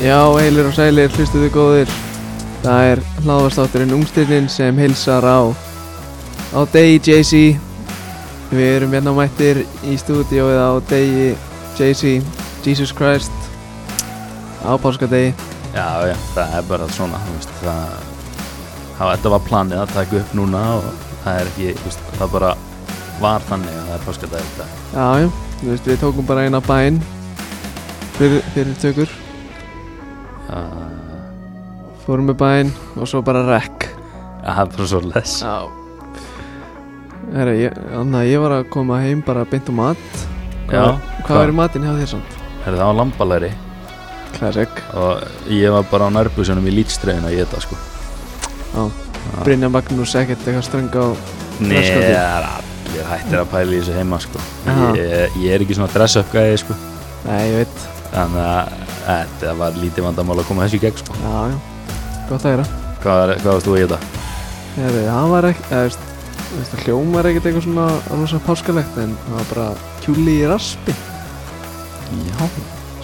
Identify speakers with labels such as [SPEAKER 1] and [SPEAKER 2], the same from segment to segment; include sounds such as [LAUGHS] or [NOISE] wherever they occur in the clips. [SPEAKER 1] Já, heilir og sælir, hlustuðu góðir Það er hláðvastátturinn Ungstirnin sem hilsar á á degi Jay-Z Við erum hérna mættir í stúdíóið á degi Jay-Z Jesus Christ á páskadegi
[SPEAKER 2] Já, já, það er bara svona, þú veist, það, það þetta var planið að taka upp núna og það er ekki, þú veist, það bara var þannig að það er páskadagur í dag.
[SPEAKER 1] Já, já, þú veist, við tókum bara eina bæn fyrir, fyrir tökur
[SPEAKER 2] Uh,
[SPEAKER 1] fórum með bæn og svo bara rekk
[SPEAKER 2] það er bara svo les.
[SPEAKER 1] Já Herra, ég, Anna, ég var að koma heim bara beint og mat
[SPEAKER 2] Já,
[SPEAKER 1] Hvað, hvað er í matinn hjá þér samt?
[SPEAKER 2] Herra, það var lambalæri
[SPEAKER 1] Classic
[SPEAKER 2] og ég var bara á nærbusunum í lítstreifinu að geta, sko.
[SPEAKER 1] Já,
[SPEAKER 2] Já.
[SPEAKER 1] Brynja Magnús ekkert eitthvað ströng á
[SPEAKER 2] Nei,
[SPEAKER 1] Þröskuldi.
[SPEAKER 2] það er allir hættir að pæla í þessu heima, sko.
[SPEAKER 1] Já.
[SPEAKER 2] Ég, ég er ekki svona dress-up gæði, sko.
[SPEAKER 1] Nei, ég veit
[SPEAKER 2] Þannig að eh, þetta var lítið vandamál að koma þessu í gegn, sko.
[SPEAKER 1] Já, já Gott að gera
[SPEAKER 2] Hvað, var- hvað varst þú að geta?
[SPEAKER 1] Herri, það var ekkert eða, veist, veist, það hljómar ekkert eitthvað svona rosa páskalegt en það var bara kjúli í raspi
[SPEAKER 2] Já,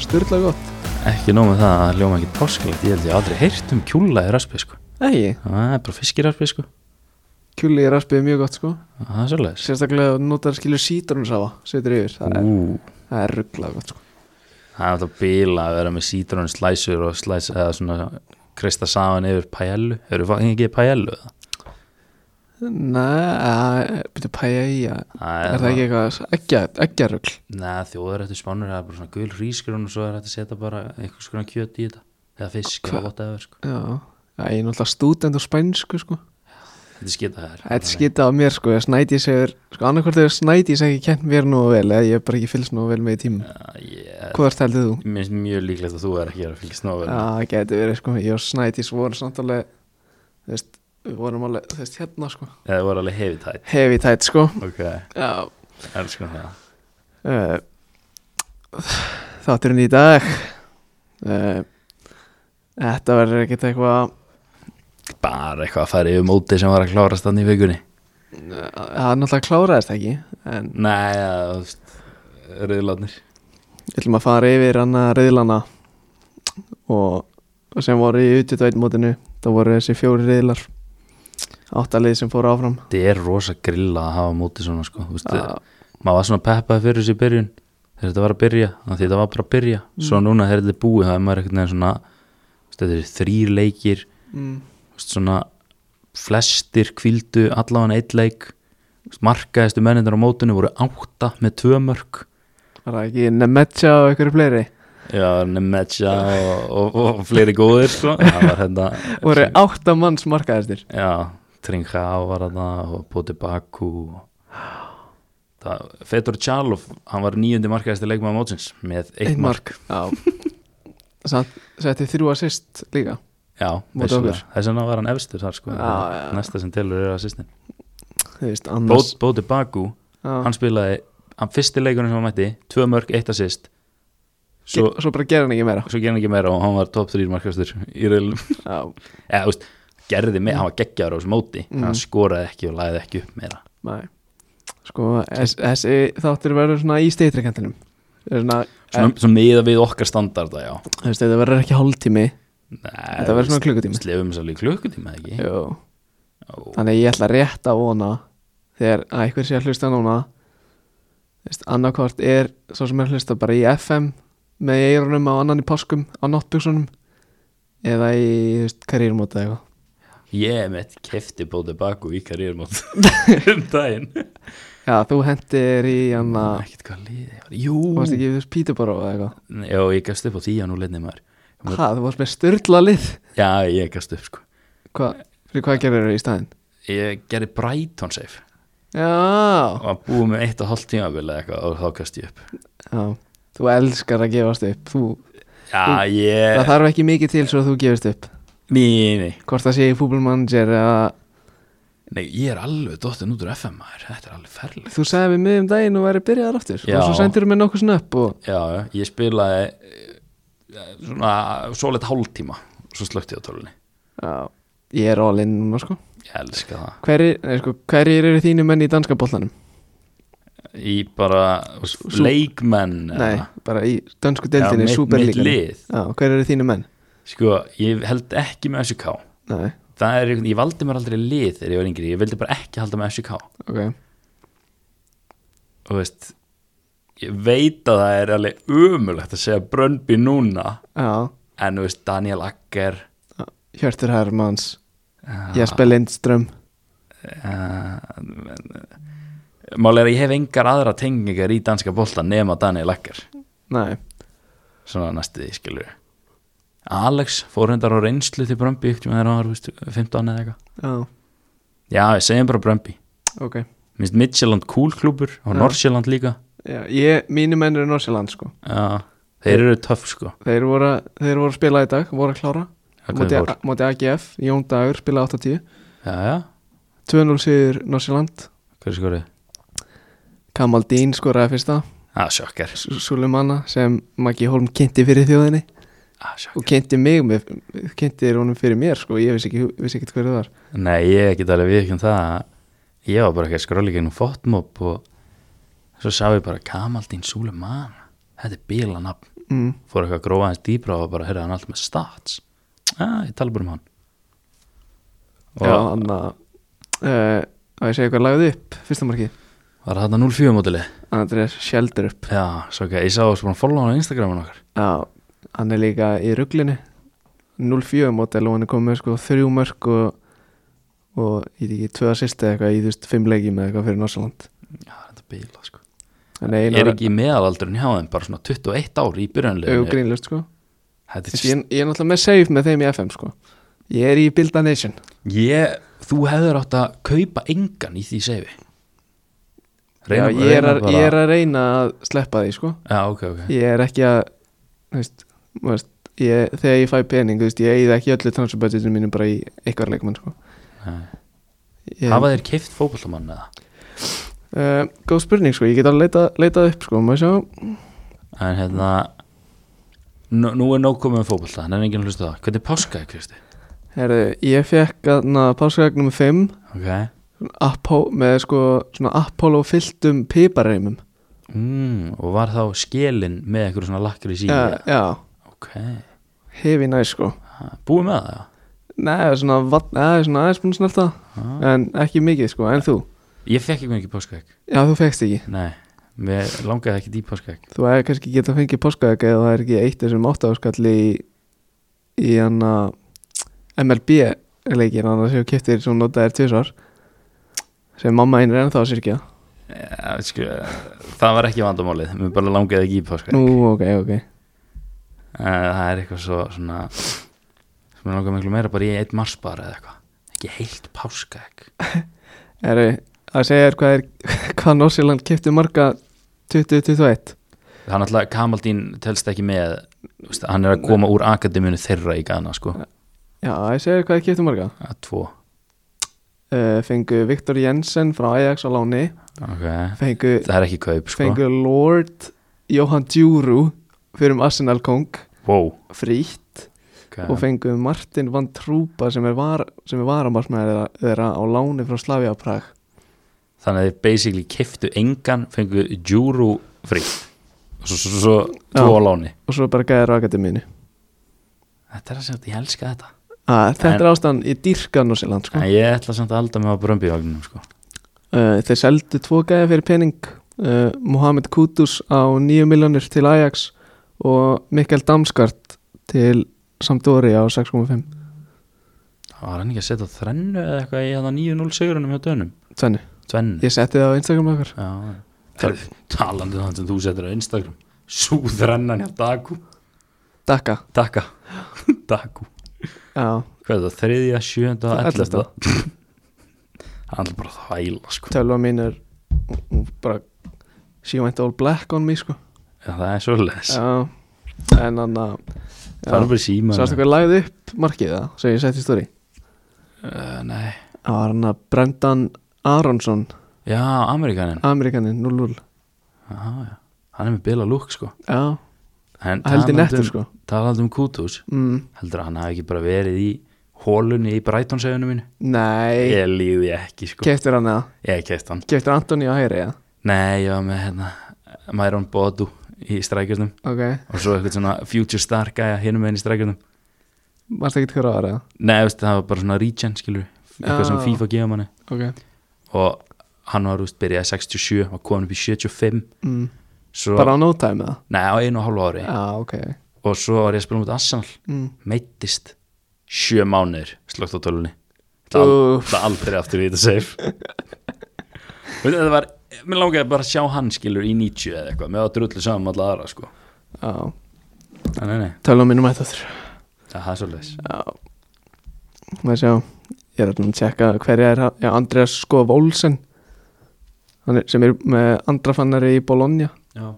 [SPEAKER 1] Sturla gott
[SPEAKER 2] Ekki nóg með það að það ljóma ekki páskalegt, ég held ég aldrei heyrt um kjúla í raspi sko.
[SPEAKER 1] Ægi,
[SPEAKER 2] Það er bara fiskiraspi sko.
[SPEAKER 1] kjúli í raspi er mjög gott sko
[SPEAKER 2] Það er svolítið.
[SPEAKER 1] Sérstaklega notar skilur sítrónusafa Setur yfir, það er,
[SPEAKER 2] Ú,
[SPEAKER 1] það er rugglað gott sko
[SPEAKER 2] það er alltaf bila að vera með sítrónu slæsur og slæs eða svona kreista saman yfir pæjellu. Eru það ekki pæjellu eða?
[SPEAKER 1] Nei, byrju pæja í að Er það ekki eitthvað eggja, eggjarugl?
[SPEAKER 2] Nei, þjóðar eftir spánur, það er bara svona gul hrísgrun og svo er þetta að setja bara einhvers konar kjöt í þetta. Eða fisk
[SPEAKER 1] Hva-
[SPEAKER 2] og whatever sko.
[SPEAKER 1] Já, já, ég er náttúrulega stúdend og spænsku sko
[SPEAKER 2] Þetta er skita það er.
[SPEAKER 1] Þetta skita á mér sko, ég snæti segur Sko annarkvort hefur snæti seg ekki kent mér nú vel Eða ég hef bara ekki fylgst nú vel með í tíma
[SPEAKER 2] Ég
[SPEAKER 1] Hvað er tæltið þú?
[SPEAKER 2] minnst mjög líklegt að þú er ekki að fylgjast nógu.
[SPEAKER 1] Já,
[SPEAKER 2] vel.
[SPEAKER 1] það getur verið sko, ég og Snædís vorum samt alveg, þú veist, við vorum alveg, þú veist, hérna sko,
[SPEAKER 2] Eða þú er alveg heavy tight.
[SPEAKER 1] heavy tight sko,
[SPEAKER 2] Ok,
[SPEAKER 1] já,
[SPEAKER 2] elskum það.
[SPEAKER 1] uh, þátturinn í dag, uh, þetta verður ekkert eitthvað,
[SPEAKER 2] bara eitthvað að fara yfir móti sem var að klárast þannig í vikunni
[SPEAKER 1] eh, það er náttúrulega kláraðist ekki, en
[SPEAKER 2] Nei, það, þú veist, rauðlarnir
[SPEAKER 1] við ætlum að fara yfir annað riðlana og, og sem voru í utjöðveit mótinu, það voru þessi fjóri riðlar, áttalið sem fóru áfram, Ah,
[SPEAKER 2] Þetta er rosa grilla að hafa móti svona sko, þú veist,
[SPEAKER 1] Já.
[SPEAKER 2] maður var svona peppaði fyrir þessu í byrjun þegar þetta var að byrja, af því þetta var bara að byrja svo núna þegar þetta er búið, það er maður eitthvað svona þú veist, þetta er þrýr leikir
[SPEAKER 1] mm,
[SPEAKER 2] þú veist, svona flestir kvíldu allavega einn leik Þú veist, markaðistu mennindar á mótinu voru átta með tvö mörg
[SPEAKER 1] var það ekki Nemetja og einhverju fleiri?
[SPEAKER 2] Já, Nemetja og, og, og fleiri góðir sko. það var [LAUGHS] þetta
[SPEAKER 1] voru átta manns markaðistir
[SPEAKER 2] Já, Tringa var þarna og Poti Baku og... það, Fedor Tjálov hann var nýjöndi markaðasti leikmaður mótsins með eitt mark,
[SPEAKER 1] já samt setti þrjú assist líka
[SPEAKER 2] Já,
[SPEAKER 1] Móti
[SPEAKER 2] vissulega.
[SPEAKER 1] okkur.
[SPEAKER 2] þess vegna var hann efstur þar sko,
[SPEAKER 1] Já, já.
[SPEAKER 2] næsta sem telur er assistin
[SPEAKER 1] þú veist annars
[SPEAKER 2] Poti Baku,
[SPEAKER 1] já,
[SPEAKER 2] hann spilaði hann fyrsti leikurinn sem hann mætti, tvö mörg, eitt assist
[SPEAKER 1] svo,
[SPEAKER 2] svo,
[SPEAKER 1] svo bara gera hann ekki meira
[SPEAKER 2] svo gerði hann ekki meira og hann var top 3 markastur í reilum
[SPEAKER 1] já,
[SPEAKER 2] [LAUGHS] eða, þú veist, gerði með, hann var geggjaður á þessu móti
[SPEAKER 1] Mm.
[SPEAKER 2] hann skoraði ekki og lagði ekki upp meira
[SPEAKER 1] nei sko, þess- þessi þáttir verður svona í steytrikantinum svona, svona,
[SPEAKER 2] svona, svona miða við okkar standarda, já
[SPEAKER 1] þú veist, þetta verður ekki hálftími
[SPEAKER 2] Nei,
[SPEAKER 1] þetta verður svona klukkutími
[SPEAKER 2] Slefum þess alveg í klukkutíma eða ekki
[SPEAKER 1] Jú.
[SPEAKER 2] Ó,
[SPEAKER 1] þannig ég ætla rétt að vona þegar að einhver sé að hlusta núna þú veist, annarkvort er svo sem er að hlusta bara í FM með eirunum á annan í páskum á náttbuksunum eða í þú veist, karýrmóta eitthvað
[SPEAKER 2] Ég mitt kefti bóti baku í
[SPEAKER 1] [LAUGHS]
[SPEAKER 2] karriérmót um daginn
[SPEAKER 1] Já, þú hendir í hann að
[SPEAKER 2] Ekkert hvað liði var Jú,
[SPEAKER 1] Þú Ah. varst ekki við Pítuboró eða eitthvað
[SPEAKER 2] já, ég gafst upp á því að nú leiðni maður Ég var-
[SPEAKER 1] Hvað, þú varst með styrla lið
[SPEAKER 2] Já, ég gafst upp sko
[SPEAKER 1] Hvað, fyrir hvað gerir þú í staðinn?
[SPEAKER 2] Ég gerði Brighton safe
[SPEAKER 1] Já,
[SPEAKER 2] og að búið með eitt og hálft tímabil eða eitthvað og þá gafst ég upp
[SPEAKER 1] já Þú elskar að gefast upp þú,
[SPEAKER 2] Já, ég
[SPEAKER 1] Það þarf ekki mikið til svo að þú gefist upp
[SPEAKER 2] Nei, nei,
[SPEAKER 1] Hvort það sé í fútbolmanager eða
[SPEAKER 2] nei, ég er alveg dottin út úr FM maður Þetta er alveg ferlegt
[SPEAKER 1] Þú sagði við mig um daginn og væri byrjaðar aftur
[SPEAKER 2] Já.
[SPEAKER 1] Og svo sendir þú mig nokkuð snöpp og
[SPEAKER 2] Já, já, ég spilaði eh, svona svolítið hálftíma svo slökti ég á tölunni
[SPEAKER 1] Já, ég er all in núna sko
[SPEAKER 2] Ég elska það
[SPEAKER 1] Hverjir, nei, sko, hverjir eru þínu menn í danska bollanum?
[SPEAKER 2] í bara
[SPEAKER 1] sú-
[SPEAKER 2] leikmenn eða-
[SPEAKER 1] Nei, bara í dansku
[SPEAKER 2] Já,
[SPEAKER 1] deildinni,
[SPEAKER 2] mitt-
[SPEAKER 1] superlíkan
[SPEAKER 2] mitt lið.
[SPEAKER 1] Já, hver eru þínu menn?
[SPEAKER 2] sko, ég held ekki með SK
[SPEAKER 1] Nei,
[SPEAKER 2] það er, einhvern- ég valdi mér aldrei lið þegar ég var yngri, ég vildi bara ekki halda með SK
[SPEAKER 1] ok
[SPEAKER 2] og veist ég veit að það er alveg umulegt að segja Brönnby núna
[SPEAKER 1] Já,
[SPEAKER 2] en þú veist, Daniel Akker
[SPEAKER 1] Hjörtur Hermanns
[SPEAKER 2] uh,
[SPEAKER 1] Jesper Lindström
[SPEAKER 2] mál eh, er að ég hef engar aðra tengingar í danska bolta nema Daniel Akker
[SPEAKER 1] Nei,
[SPEAKER 2] svona næstuði, skilur Alex fór hendar á reynslu til Brömbi ykkur með þeirra var, veist, 15 eða eitthvað
[SPEAKER 1] já,
[SPEAKER 2] já, við segjum bara Brömbi
[SPEAKER 1] ok
[SPEAKER 2] minnst Midtjylland kúlklúpur og
[SPEAKER 1] Já.
[SPEAKER 2] Norsjælland líka
[SPEAKER 1] já, ég, Mínu menn eru Norsjaland sko
[SPEAKER 2] já, þeir eru töff sko
[SPEAKER 1] Þeir voru, að- þeir voru að spila í dag, voru að klára
[SPEAKER 2] Það
[SPEAKER 1] móti,
[SPEAKER 2] hvernig fór?
[SPEAKER 1] móti AGF, Jón Dagur, spila 8-10
[SPEAKER 2] já, já,
[SPEAKER 1] 2-0 sigur Norsjaland
[SPEAKER 2] hverju skorið
[SPEAKER 1] Kamal Dín skoraði fyrsta
[SPEAKER 2] að Ah, sjokkar,
[SPEAKER 1] Sulemanna sem Maggi Holm kynnti fyrir þjóðinni
[SPEAKER 2] að
[SPEAKER 1] og
[SPEAKER 2] Ah, sjokkar
[SPEAKER 1] kynnti mig, með, kynnti honum fyrir mér sko, ég vissi ekki, vissi ekki hverju það var
[SPEAKER 2] nei, ég get alveg við ekki um það að ég var bara ekki að skróla í gegnum fotmob og svo sá ég bara Kamaldín Súleman þetta er bílanafn
[SPEAKER 1] mm.
[SPEAKER 2] fór eitthvað að grófa aðeins dýbra og bara heyrði hann allt með stats ah, ég tala bara um hann og
[SPEAKER 1] Já, hann að uh, að ég segja hvað lagði upp fyrsta markið
[SPEAKER 2] var þetta 0-4 mótili
[SPEAKER 1] Andrés Sheldur upp
[SPEAKER 2] já, svo ekki, ég sá þess bara að follow hann á Instagramin okkar
[SPEAKER 1] Já, hann er líka í rugglinni 0-4 mótel og hann er komið með sko þrjú mörk og, og ég veit ekki, tvö assist eða eitthvað í þú veist fimm leikjum eða eitthvað fyrir Norsaland
[SPEAKER 2] já, þetta er bíla sko
[SPEAKER 1] Þannig
[SPEAKER 2] er
[SPEAKER 1] einar
[SPEAKER 2] ekki meðalaldurinn hjá þeim bara svona 21 ár í byrjanleginu
[SPEAKER 1] augrínlust sko
[SPEAKER 2] þetta er
[SPEAKER 1] Þessi, ég, ég er náttúrulega með save með þeim í FM sko Ég er í Build a Nation
[SPEAKER 2] Ég, þú hefur átt að kaupa engan í því sefi
[SPEAKER 1] Já, ég, er að, ég er að reyna að sleppa því sko
[SPEAKER 2] Já, ok, ok
[SPEAKER 1] Ég er ekki að þú veist, þú veist, ég, þegar ég fæ pening þú veist, ég eigið ekki öllu transferbudgetinu mínu bara í eitthvað leikmann sko
[SPEAKER 2] Nei.
[SPEAKER 1] ég,
[SPEAKER 2] Hafa þeir keift fótboltamann eða?
[SPEAKER 1] Uh, góð spurning sko, ég get alveg leitað leita upp sko, maður sjá
[SPEAKER 2] En hérna Nú, nú er nóg komið um fótbolta, hann er enginn að hlusta á það Hvernig er páskaði, Kristi?
[SPEAKER 1] Herðu, ég fekk aðna páskagnum 5
[SPEAKER 2] Ok
[SPEAKER 1] Appo, með sko svona Apollo fylltum piparreimum
[SPEAKER 2] mm, Og var þá skilin með einhverju svona lakkar í síðu
[SPEAKER 1] Já, já,
[SPEAKER 2] Ok
[SPEAKER 1] hefi næ sko
[SPEAKER 2] Ha, Búið með það?
[SPEAKER 1] Nei, svona, vatn, eða, svona aðeins búin snerta
[SPEAKER 2] Ha.
[SPEAKER 1] En ekki mikið sko, en þú
[SPEAKER 2] Ég fekk ekki mikið páskaði
[SPEAKER 1] Já, þú fekkst ekki,
[SPEAKER 2] Nei, mér langaði ekki í páskaði
[SPEAKER 1] þú hefði kannski getað fengið páskaðeg eða það er ekki eitt þessum áttafskalli í, í hann MLB leikin annars hefur kiptir sem þú notaðir tvisvar sem mamma einn er ennþá að syrkja
[SPEAKER 2] ja, skur, sko, Það var ekki vandamálið, mér bara langaði ekki í páskaði
[SPEAKER 1] Nú, ok, ok
[SPEAKER 2] Eh, það er eitthvað svo svona sem er langar miklu meira bara í eitt marsbar eða eitthvað ekki heilt páska
[SPEAKER 1] Eru, að segja þér hvað, er, [LAUGHS] hvað Norsjöland kipti marga 2021
[SPEAKER 2] það er náttúrulega, Kamaldín telst ekki með þú veist, hann er að koma úr akademíunu þeirra í Ghana sko,
[SPEAKER 1] Já, að segja þér hvað þeir kipti marga
[SPEAKER 2] að tvo
[SPEAKER 1] uh, Fengu Viktor Jensen frá Ajax á láni
[SPEAKER 2] okay.
[SPEAKER 1] Fengu,
[SPEAKER 2] það er ekki kaup sko
[SPEAKER 1] fengu Lord Johan Djuru fyrir um Arsenal Kong
[SPEAKER 2] wow,
[SPEAKER 1] frítt
[SPEAKER 2] okay.
[SPEAKER 1] og fengu Martin Van Trúpa sem er, var, sem er varamarsmaður þeirra, þeirra á láni frá Slavia Prag
[SPEAKER 2] þannig að þeir basically kiftu engan fengu djúru fritt og svo, svo, svo, svo tvo
[SPEAKER 1] Já.
[SPEAKER 2] á láni
[SPEAKER 1] og svo bara gæðir á akademínu
[SPEAKER 2] þetta er að segja, ég elska þetta
[SPEAKER 1] að, Þetta
[SPEAKER 2] En-
[SPEAKER 1] er ástæðan í dýrka Norsjöland sko.
[SPEAKER 2] en ég ætla samt að halda mig á brömbivagninum sko.
[SPEAKER 1] Uh, þeir seldu tvo gæja fyrir pening uh, Mohamed Kutus á 9 miljonir til Ajax og Mikael Damskart til Sampdori á 6,5
[SPEAKER 2] var hann ekki að setja þrennu eða eitthvað í hann 9-0 sigurunum hjá dönum
[SPEAKER 1] Tvennu,
[SPEAKER 2] tvennu
[SPEAKER 1] ég setti það á Instagram okkar
[SPEAKER 2] Já, Herðu, talandi um þann sem þú setur á Instagram Súðrennan hjá Daku
[SPEAKER 1] Dakka
[SPEAKER 2] Daka [LAUGHS] Daku
[SPEAKER 1] Já,
[SPEAKER 2] Hvað er það? Þriðja, sjönda, ellefta
[SPEAKER 1] Ellefta.
[SPEAKER 2] [LAUGHS] Hann er bara að þvæla sko
[SPEAKER 1] tölva mín er hún bara She went all black on me sko
[SPEAKER 2] Já, Það er svolítið
[SPEAKER 1] Já, en hann að
[SPEAKER 2] Það er bara síma
[SPEAKER 1] Sástu hvað lagði upp markið það sem ég setti í stóri
[SPEAKER 2] Eh, Nei
[SPEAKER 1] Það var hann að Brendan Aronsson
[SPEAKER 2] Já, Amerikanin
[SPEAKER 1] Amerikanin 0-0
[SPEAKER 2] Já, já Hann er með bila lúk sko
[SPEAKER 1] Já,
[SPEAKER 2] En
[SPEAKER 1] heldur
[SPEAKER 2] talandi
[SPEAKER 1] nettur
[SPEAKER 2] um-
[SPEAKER 1] sko
[SPEAKER 2] Talandi um Kutus
[SPEAKER 1] mm,
[SPEAKER 2] Heldur að hann hafi ekki bara verið í Hólunni í Brighton-segunum mínu
[SPEAKER 1] Nei
[SPEAKER 2] Ég líði ekki sko
[SPEAKER 1] Keftir hann eða?
[SPEAKER 2] Ég keist hann
[SPEAKER 1] Keftir Antoni á hægri eða?
[SPEAKER 2] Nei, ég var með hérna Myron Bodu í strækjustum
[SPEAKER 1] Ok,
[SPEAKER 2] og svo eitthvað svona Future Star gæja hinum með henni í strækjustum
[SPEAKER 1] varst ekki hver ára?
[SPEAKER 2] Nei, veist, það var bara svona regen, skilur eitthvað sem
[SPEAKER 1] Já.
[SPEAKER 2] FIFA gefa manni
[SPEAKER 1] Ok
[SPEAKER 2] og hann var, veist, byrjaði 67 var komin upp í 75
[SPEAKER 1] mm.
[SPEAKER 2] svo,
[SPEAKER 1] Bara á no time eða?
[SPEAKER 2] Nei, á einu og hálfu ári
[SPEAKER 1] Já, ok
[SPEAKER 2] og svo var ég að spila mútið Arsenal
[SPEAKER 1] mm.
[SPEAKER 2] meittist sjö mánuðir slögt á tölunni það al-
[SPEAKER 1] Úff.
[SPEAKER 2] það aldrei aftur í
[SPEAKER 1] [LAUGHS]
[SPEAKER 2] þetta seif þetta var mér langaði bara að sjá hann skilur í 90 eða eitthvað, mér var drullu saman alla aðra sko
[SPEAKER 1] Já,
[SPEAKER 2] nei, nei, nei,
[SPEAKER 1] tölum mínum ætti áttur
[SPEAKER 2] það er svolítið
[SPEAKER 1] Já Maður sjá Ég er alltaf að tjekka hverja er hann Já, Andreas Skov Olsen Hann er, sem er með andrafannari í Bologna
[SPEAKER 2] já,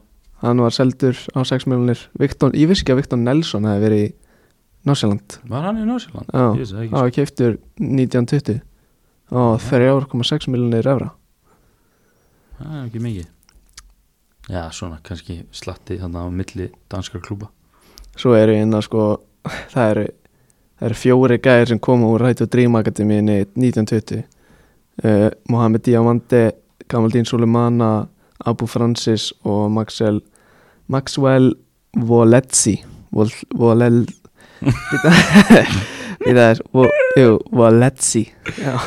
[SPEAKER 1] Hann var seldur á 6 miljonir Victor, Ég vissi ekki að Viktor Nelson hefði verið í Norsjaland
[SPEAKER 2] var hann í Norsjöland?
[SPEAKER 1] Já.
[SPEAKER 2] ég veist það
[SPEAKER 1] Á,
[SPEAKER 2] ekki, sko.
[SPEAKER 1] keiftur 1920 og 3,6 miljonir evra
[SPEAKER 2] sko. það er ekki mikið já, svona, kannski slatti þannig á milli danskar klúba
[SPEAKER 1] Svo eru hérna sko [LAUGHS] það eru, það eru fjóri gæðir sem koma úr Rættu Dream Academy 1920 uh, Mohamed Diamante Kamaldín Suleimana Abu Francis og Maxwell Maxwell Voletzi Vol, Volel Í það er vo, jú, Voletzi Já,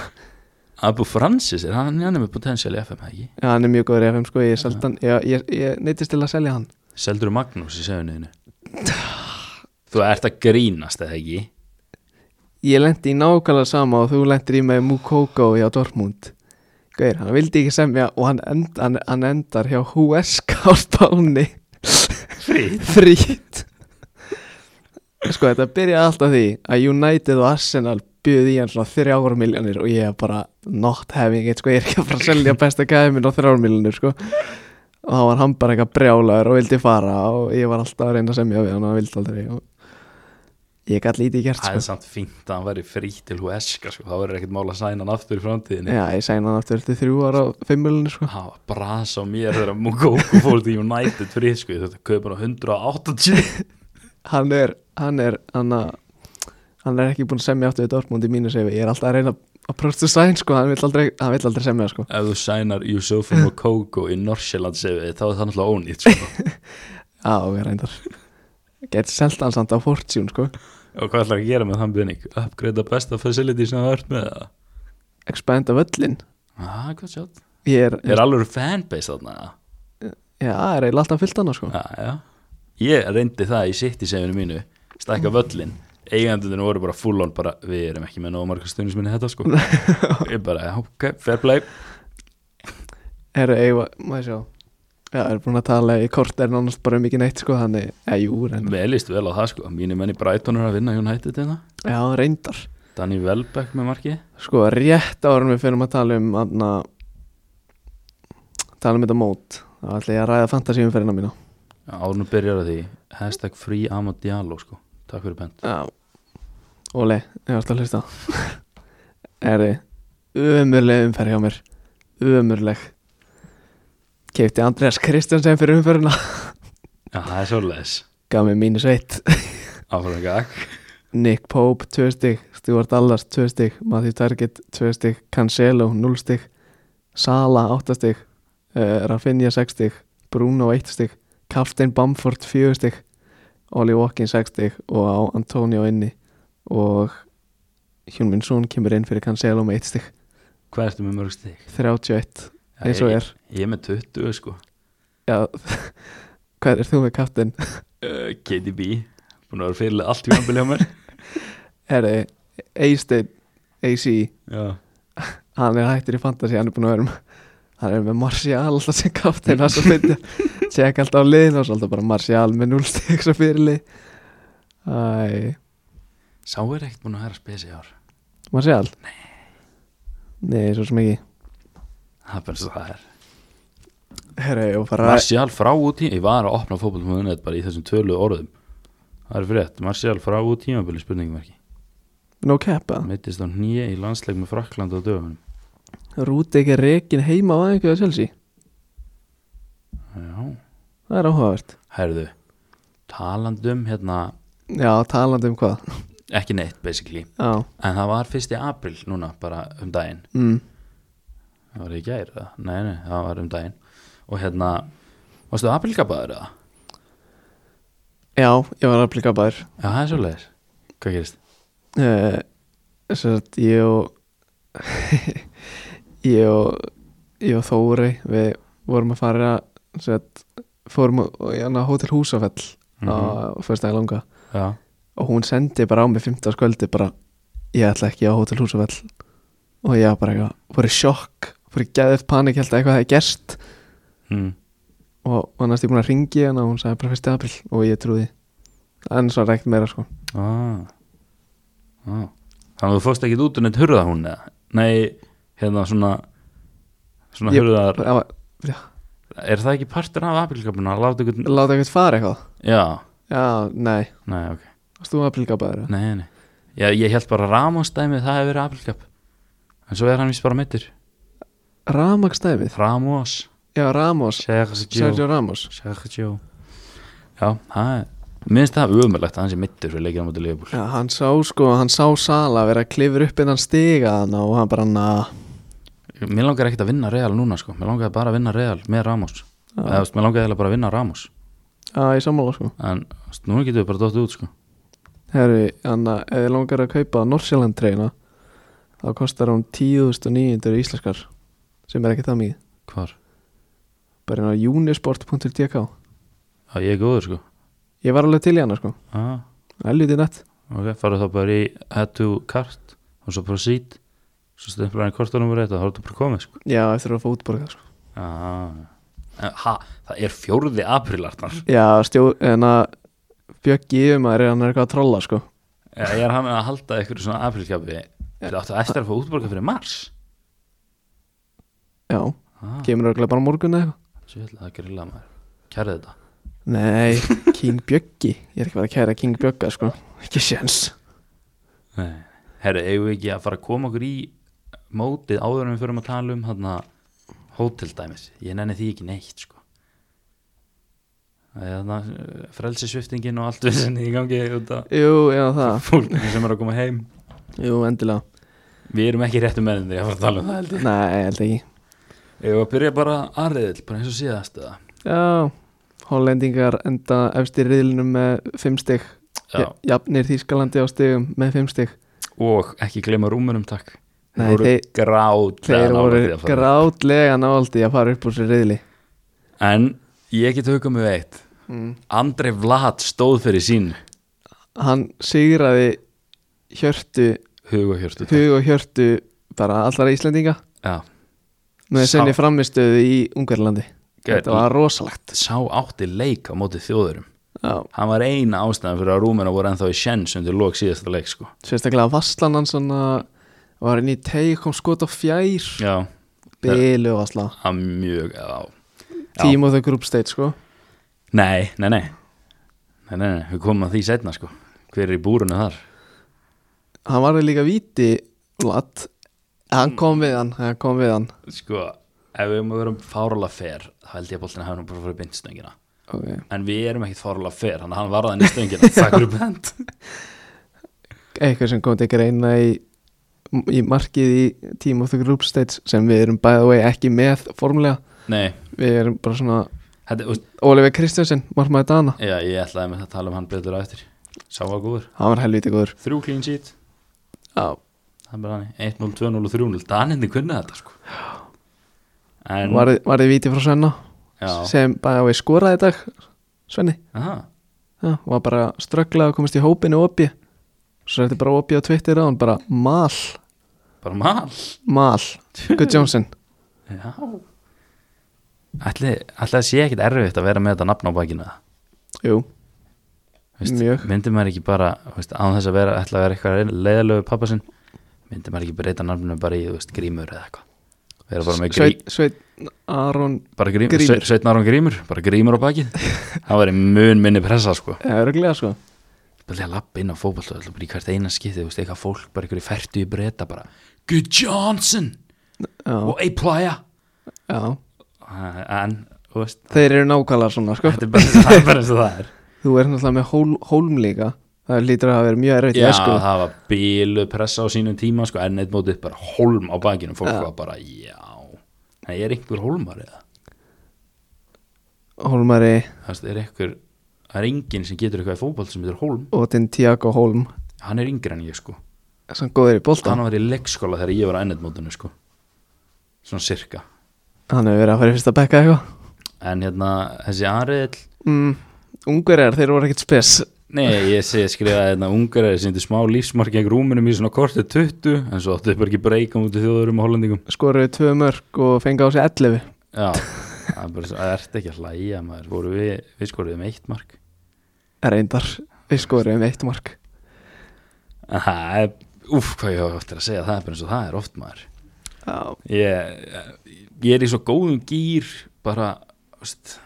[SPEAKER 2] Abu Francis, er hann, hann er með potential í FM, ekki?
[SPEAKER 1] já, hann er mjög góður í FM sko, ég, seldi hann, já, ég, ég neytist til að selja hann
[SPEAKER 2] Seldur Magnús í sefunniðinu
[SPEAKER 1] [LAUGHS]
[SPEAKER 2] þú ert að grínast eða ekki?
[SPEAKER 1] Ég lendi í nákvæmlega sama og þú lendir í með Mukoko hjá Dortmund Gauir, hann vildi ekki semja og hann, end, hann, hann endar hjá HSK á spáni
[SPEAKER 2] frið
[SPEAKER 1] Frýtt Sko, þetta byrjaði alltaf því að United og Arsenal byggði í hann svona þrjára miljónir og ég er bara not having it, sko, ég er ekki að fara að selja besta gæði minn á þrjára miljónir, sko og þá var hann bara eitthvað brjálaður og vildi fara og ég var alltaf að reyna að semja við hann og hann vildi aldrei og ég gæti lítið gert, sko
[SPEAKER 2] Það er samt fínt að hann væri frítt til Huesca sko, þá verður ekkert mál að sæna hann aftur í framtíðinni
[SPEAKER 1] Já, ég sæna hann aftur til þrjú ára á fimmulinu sko.
[SPEAKER 2] Það var bras á mér þegar Mokoko fór til United frið sko, ég þurfti að kaupa hann á
[SPEAKER 1] [LAUGHS]
[SPEAKER 2] 180
[SPEAKER 1] Hann er, hann er, hann að Hann er ekki búin að semja aftur við Dortmund í mínu sefi Ég er alltaf að reyna að próstu sæn sko Hann vill aldrei, hann vill aldrei semja sko
[SPEAKER 2] Ef þú sænar Yusufu Mokoko í Norsjöland segið, þá er það náttúrulega
[SPEAKER 1] [LAUGHS]
[SPEAKER 2] ónýtt sko.
[SPEAKER 1] Já, ok, reyndar Geti selt hann samt á Fortune sko
[SPEAKER 2] og hvað ætlar að gera með þann byrning? Upgrade besta facility sem það ert með það?
[SPEAKER 1] Expanda völlin
[SPEAKER 2] Ah, hvað sjátt?
[SPEAKER 1] Ég er,
[SPEAKER 2] Er alveg fanbase þarna? eða?
[SPEAKER 1] já, er eiginlega alltaf fyllt hann sko
[SPEAKER 2] Já, já Ég reyndi það í sitt í seginu mínu stækka
[SPEAKER 1] Mm.
[SPEAKER 2] völlin eigendunum voru bara full on bara við erum ekki með nóg marga stundisminni þetta
[SPEAKER 1] [LAUGHS]
[SPEAKER 2] sko ég bara, já, ok, fair play
[SPEAKER 1] Er eiginlega, maður sjá Já, er búin að tala í kort er nánast bara um ekki neitt sko Þannig, já, jú, reyndar
[SPEAKER 2] við líst vel á það sko, mínu menni Brighton er að vinna United þetta,
[SPEAKER 1] Já, reyndar
[SPEAKER 2] Danny Welbeck með marki
[SPEAKER 1] Sko, rétt árum við fyrir að tala um anna, tala um þetta mót þá ætla ég að ræða fantasíumferðina mína
[SPEAKER 2] árnum byrjar að því, hashtag free Amad Diallo sko, takk fyrir bent
[SPEAKER 1] Já Óli, ég varst að hlusta [LAUGHS] Er þið umurleg umferð hjá mér umurleg Keipti Andreas Kristjansen fyrir umferðina
[SPEAKER 2] já, það er svolítið,
[SPEAKER 1] gaf mér mínus eitt
[SPEAKER 2] áfram gag
[SPEAKER 1] Nick Pope, 2 stygg Stuart Allars, 2 stygg Matthew Target, 2 stygg Cancelo, 0 stygg Sala, 8 stygg uh, Rafinha, 6 stygg Bruno, 1 stygg Kaftin Bamford, 4 stygg Oli Walkin, 6 stygg og á Antonio inni og Hjúnminn Són kemur inn fyrir Cancelo með 1 stygg
[SPEAKER 2] hvað ertu með mörg stig?
[SPEAKER 1] 31,
[SPEAKER 2] Já,
[SPEAKER 1] eins og
[SPEAKER 2] ég,
[SPEAKER 1] er
[SPEAKER 2] ég er með 20 sko
[SPEAKER 1] Já, [LAUGHS] hvað er þú með kaftin? Eh,
[SPEAKER 2] uh, KDB, búin að vera fyrir allt í hjá mér
[SPEAKER 1] Herri, Eistein AC
[SPEAKER 2] já
[SPEAKER 1] hann er hættur í fantasy, hann er búin að vera með hann er með Martial alltaf sem kaptein það er svo fyndið, tjekk alltaf á liðin og svo alltaf bara Martial með 0 stík sem fyrirlið Æ,
[SPEAKER 2] Sá er ekkert búin að hæra spesi í ár
[SPEAKER 1] Martial? Nei Nei, svo sem ekki
[SPEAKER 2] Það er bara svo það er
[SPEAKER 1] Herra, ég var bara
[SPEAKER 2] Martial frá út í Ég var að opna fótbollmöðunet bara í þessum tölu orðum Það er frétt Martial frá út tímabili spurningverki
[SPEAKER 1] no cap að
[SPEAKER 2] Mittist á nýja í landsleik með Frakland á döfunum
[SPEAKER 1] Rúti ekki rekin heima á aðeinkuða sjálfsí
[SPEAKER 2] Já
[SPEAKER 1] Það er áhugavert
[SPEAKER 2] Herðu Talandum hérna
[SPEAKER 1] Já, talandi um hvað
[SPEAKER 2] Ekki neitt basically
[SPEAKER 1] Já,
[SPEAKER 2] En það var 1. april núna bara um daginn
[SPEAKER 1] mm,
[SPEAKER 2] Það var í gær eða? Nei, nei, það var um daginn og hérna, varstu aprilgabaður eða?
[SPEAKER 1] Já, ég var að plika bæður
[SPEAKER 2] Já, það er svolítið Hvað gerist?
[SPEAKER 1] uh, Svo að ég og [LAUGHS] Ég og Ég og Þóri Við vorum að fara Svo að fórum á- í hana hótel Húsafell
[SPEAKER 2] Mhm.
[SPEAKER 1] á fyrsta dag langa
[SPEAKER 2] Já,
[SPEAKER 1] og hún sendi bara á mig 15 skvöldi bara ég ætla ekki á hótel Húsafell og ég var bara eitthvað, fór í sjokk fór í geðið panik, held að eitthvað hefði gerst
[SPEAKER 2] mm.
[SPEAKER 1] og og næst ég búin að ringi hana og hún sagði bara 1. april og ég trúði en svo rekt meira sko
[SPEAKER 2] ah. Ah. Þannig að þú fórst ekki út um eitt hurða hún eða? Nei, hérna svona svona
[SPEAKER 1] Ég-
[SPEAKER 2] hurðar
[SPEAKER 1] Það var-
[SPEAKER 2] Er það ekki partur af aprilgabuna að láta ykkur
[SPEAKER 1] láta eitthvað fara eitthvað
[SPEAKER 2] Já,
[SPEAKER 1] já, nei,
[SPEAKER 2] nei, ok
[SPEAKER 1] varst þú aprilgabaður eða?
[SPEAKER 2] Nei, nei Já, ég held bara Ramosdæmi það hefur verið aprilgab En svo er hann vist bara mittur
[SPEAKER 1] Ramagsdæmið,
[SPEAKER 2] Ramos
[SPEAKER 1] já Ramos
[SPEAKER 2] Sergio
[SPEAKER 1] Sergio Ramos
[SPEAKER 2] Sergio Já, það er Minnst það umurlegt að hann sé mittur fyrir leikina á móti leifbúl
[SPEAKER 1] já, hann sá sko, hann sá Sala vera að klifur upp innan stiga hana og hann bara na
[SPEAKER 2] Mér langar ekkert að vinna Real núna sko Mér langaði bara að vinna Real með Ramos Eða, þú veist, Mér langaði eiginlega bara að vinna Ramos
[SPEAKER 1] já, ég sammála sko
[SPEAKER 2] En þú veist, núna getum við bara dóttið út sko
[SPEAKER 1] Herri, Anna, ef þið langar að kaupa Norsjöland treyna þá kostar hún 10.900 íslenskar sem er ekki það mikið
[SPEAKER 2] Hvar?
[SPEAKER 1] bara inn á unisport.tk
[SPEAKER 2] Já, ég er góður sko
[SPEAKER 1] Ég var alveg til í hana sko,
[SPEAKER 2] ah,
[SPEAKER 1] elviti nett
[SPEAKER 2] Ok, farið þá bara í head to cart Og svo bara seat Svo stemplar hann í kortunum og reyta Það horfðu bara komið sko
[SPEAKER 1] Já, eftir að fá útborgað sko
[SPEAKER 2] ah. Ha, það er fjórði aprílartnar
[SPEAKER 1] Já, stjó, en að Bjöggi yfirmaður er hann er eitthvað að trolla sko
[SPEAKER 2] Ég er hann að halda ykkur svona aprílskapi Það áttu eftir að fá útborga fyrir mars
[SPEAKER 1] Já,
[SPEAKER 2] ah,
[SPEAKER 1] kemur örugglega bara á morgun eða eitthvað
[SPEAKER 2] Sjöfnlega, það grilla maður Kærði þetta
[SPEAKER 1] Nei, King Bjöggi Ég er ekki að fara að kæra King Bjögga sko Ekki séns
[SPEAKER 2] Nei, herru, eigum við ekki að fara að koma okkur í mótið áður en við förum að tala um hann að hóteldæmis, ég nenni því ekki neitt sko Þannig að frelsisviftingin eh, og allt við sinni í gangi út af
[SPEAKER 1] Jú, já það,
[SPEAKER 2] fólkinu sem er að koma heim
[SPEAKER 1] jú, endilega
[SPEAKER 2] Við erum ekki réttu með því að fara að tala um það held ég
[SPEAKER 1] Nei, held ekki
[SPEAKER 2] Ég var að byrja bara aðriðil, bara eins og síðast eða
[SPEAKER 1] Já, hollendingar enda efst í riðlinum með 5 stygg
[SPEAKER 2] Já,
[SPEAKER 1] Jafnir Þýskalandi á stygum með 5 stygg
[SPEAKER 2] og ekki gleyma rúmunum takk Þeir
[SPEAKER 1] Nei,
[SPEAKER 2] voru
[SPEAKER 1] þeir,
[SPEAKER 2] grát
[SPEAKER 1] þeir voru
[SPEAKER 2] um
[SPEAKER 1] grátlega náldi að fara upp úr sér riðli
[SPEAKER 2] En ég get hugað mig við eitt
[SPEAKER 1] Mm.
[SPEAKER 2] Andrei Vlad stóð fyrir sín
[SPEAKER 1] Hann sigraði hjörtu,
[SPEAKER 2] hug og hjörtu
[SPEAKER 1] hug og hjörtu bara allara Íslendinga
[SPEAKER 2] Já,
[SPEAKER 1] með
[SPEAKER 2] Sá-
[SPEAKER 1] senni framistöðu í Ungarlandi
[SPEAKER 2] Gæt-
[SPEAKER 1] Þetta var rosalegt
[SPEAKER 2] sá átti leik á móti þjóðurum
[SPEAKER 1] Já,
[SPEAKER 2] Hann var eina ástæðan fyrir að Rúmena voru ennþá í sjens undir lók síðasta leik sko
[SPEAKER 1] sérstaklega vasslan hann svona var inn í teig, kom skot á fjær
[SPEAKER 2] Já,
[SPEAKER 1] Bilu vassla
[SPEAKER 2] hann mjög já. Já.
[SPEAKER 1] Tíma og þau group stage sko
[SPEAKER 2] Nei, nei, nei Nei, nei, nei, við komum að því setna sko Hver er í búrunu þar?
[SPEAKER 1] hann varði líka víti Vlad
[SPEAKER 2] Mm.
[SPEAKER 1] hann kom við hann, hann kom við hann
[SPEAKER 2] Sko, ef við maður verum fárala fer um þá held ég að boltin hafa nú bara fyrir bindstöngina
[SPEAKER 1] okay.
[SPEAKER 2] En við erum ekkit fárala fer Þannig að hann varða henni stöngina Takk fyrir bend
[SPEAKER 1] eitthvað sem kom til greina í, í markið í Team of the Group Stage sem við erum by the way ekki með formulega,
[SPEAKER 2] Nei,
[SPEAKER 1] við erum bara svona
[SPEAKER 2] þetta, úst,
[SPEAKER 1] Oliver Kristjánsson, margmaður Dana
[SPEAKER 2] já, ég ætlaði með að tala um hann betur á eftir Sá var góður
[SPEAKER 1] hann var helviti góður
[SPEAKER 2] Þrjú clean sheet
[SPEAKER 1] Já,
[SPEAKER 2] Það er bara hann 1-0, 2-0 og 3-0 Daninni kunni þetta sko En
[SPEAKER 1] varði, varði víti frá Svenna
[SPEAKER 2] Já,
[SPEAKER 1] sem by the way skoraði í dag Svenni,
[SPEAKER 2] aha,
[SPEAKER 1] já, og var bara strögglega að komast í hópinu opi svo er þetta bara opi á Twitter og hann bara mal,
[SPEAKER 2] bara mal
[SPEAKER 1] mal Good Johnson
[SPEAKER 2] Já Ætli, ætli að sé ekkit erfitt að vera með þetta nafn á bakinu eða?
[SPEAKER 1] [LAUGHS] Jú,
[SPEAKER 2] Veist,
[SPEAKER 1] Mjög.
[SPEAKER 2] Myndi maður ekki bara, veist, án þess að vera ætla að vera eitthvað leiðalögu pappa sinn Myndi maður ekki breyta nafninu bara í, þú veist, grímur eða eitthvað Vera bara með grí,
[SPEAKER 1] Sveit, Sveit Aron
[SPEAKER 2] bara grím,
[SPEAKER 1] Grímur.
[SPEAKER 2] grímur Sveitnarum grímur, bara grímur á
[SPEAKER 1] [LAUGHS]
[SPEAKER 2] bakið Það væri mun minni pressa sko
[SPEAKER 1] Örglega sko
[SPEAKER 2] Bæði að lappa inn á fótballtöð Bara í hvert eina skipti, þú veist, eitthvað fólk Bara ykkur í færtu í breyta bara Good Johnson
[SPEAKER 1] já,
[SPEAKER 2] og A-playa
[SPEAKER 1] já.
[SPEAKER 2] En, þú [LAUGHS] veist,
[SPEAKER 1] Þeir eru nákvæmlega svona sko
[SPEAKER 2] þetta er bara það er bara eins og það er
[SPEAKER 1] Þú er náttúrulega með hól, hólm líka Það lítur að hafa verið mjög erfitt í
[SPEAKER 2] Já,
[SPEAKER 1] esku
[SPEAKER 2] það var bílu pressa á sínum tíma sko, en eitt mótið bara holm á bakinu fólk var bara, já Nei, er einhver holmar eða?
[SPEAKER 1] Hólmari
[SPEAKER 2] það er einhver það er enginn sem getur eitthvað í fótbolt sem heitir Holm
[SPEAKER 1] og Tiago Hólm
[SPEAKER 2] hann er yngri en ég sko
[SPEAKER 1] sem góður í bolta
[SPEAKER 2] hann var í leikskóla þegar ég var að ennetmótinu sko svona sirka
[SPEAKER 1] hann hefur verið að fara í fyrsta bekka eitthvað
[SPEAKER 2] en hérna þessi Ariðil
[SPEAKER 1] mm, Ungverjar, þeir voru ekkert spes
[SPEAKER 2] Nei, ég segi skrifaði hérna ungaræði sem þetta smá lífsmark gegn rúminum í svona kortið 20 en svo áttu þau bara ekki breyka út í þjóðurum og hollendingum
[SPEAKER 1] skoruðu tvö mörg og fengi á sig 11
[SPEAKER 2] Já, það er bara svo, það ert ekki að hlæja maður, voru við, við skoruðum eitt mark
[SPEAKER 1] reyndar, við skoruðum eitt mark
[SPEAKER 2] en það er, úf, hvað ég ofta að segja það er bara eins og það er oft maður
[SPEAKER 1] Já,
[SPEAKER 2] ég, ég er í svo góðum gýr bara, veist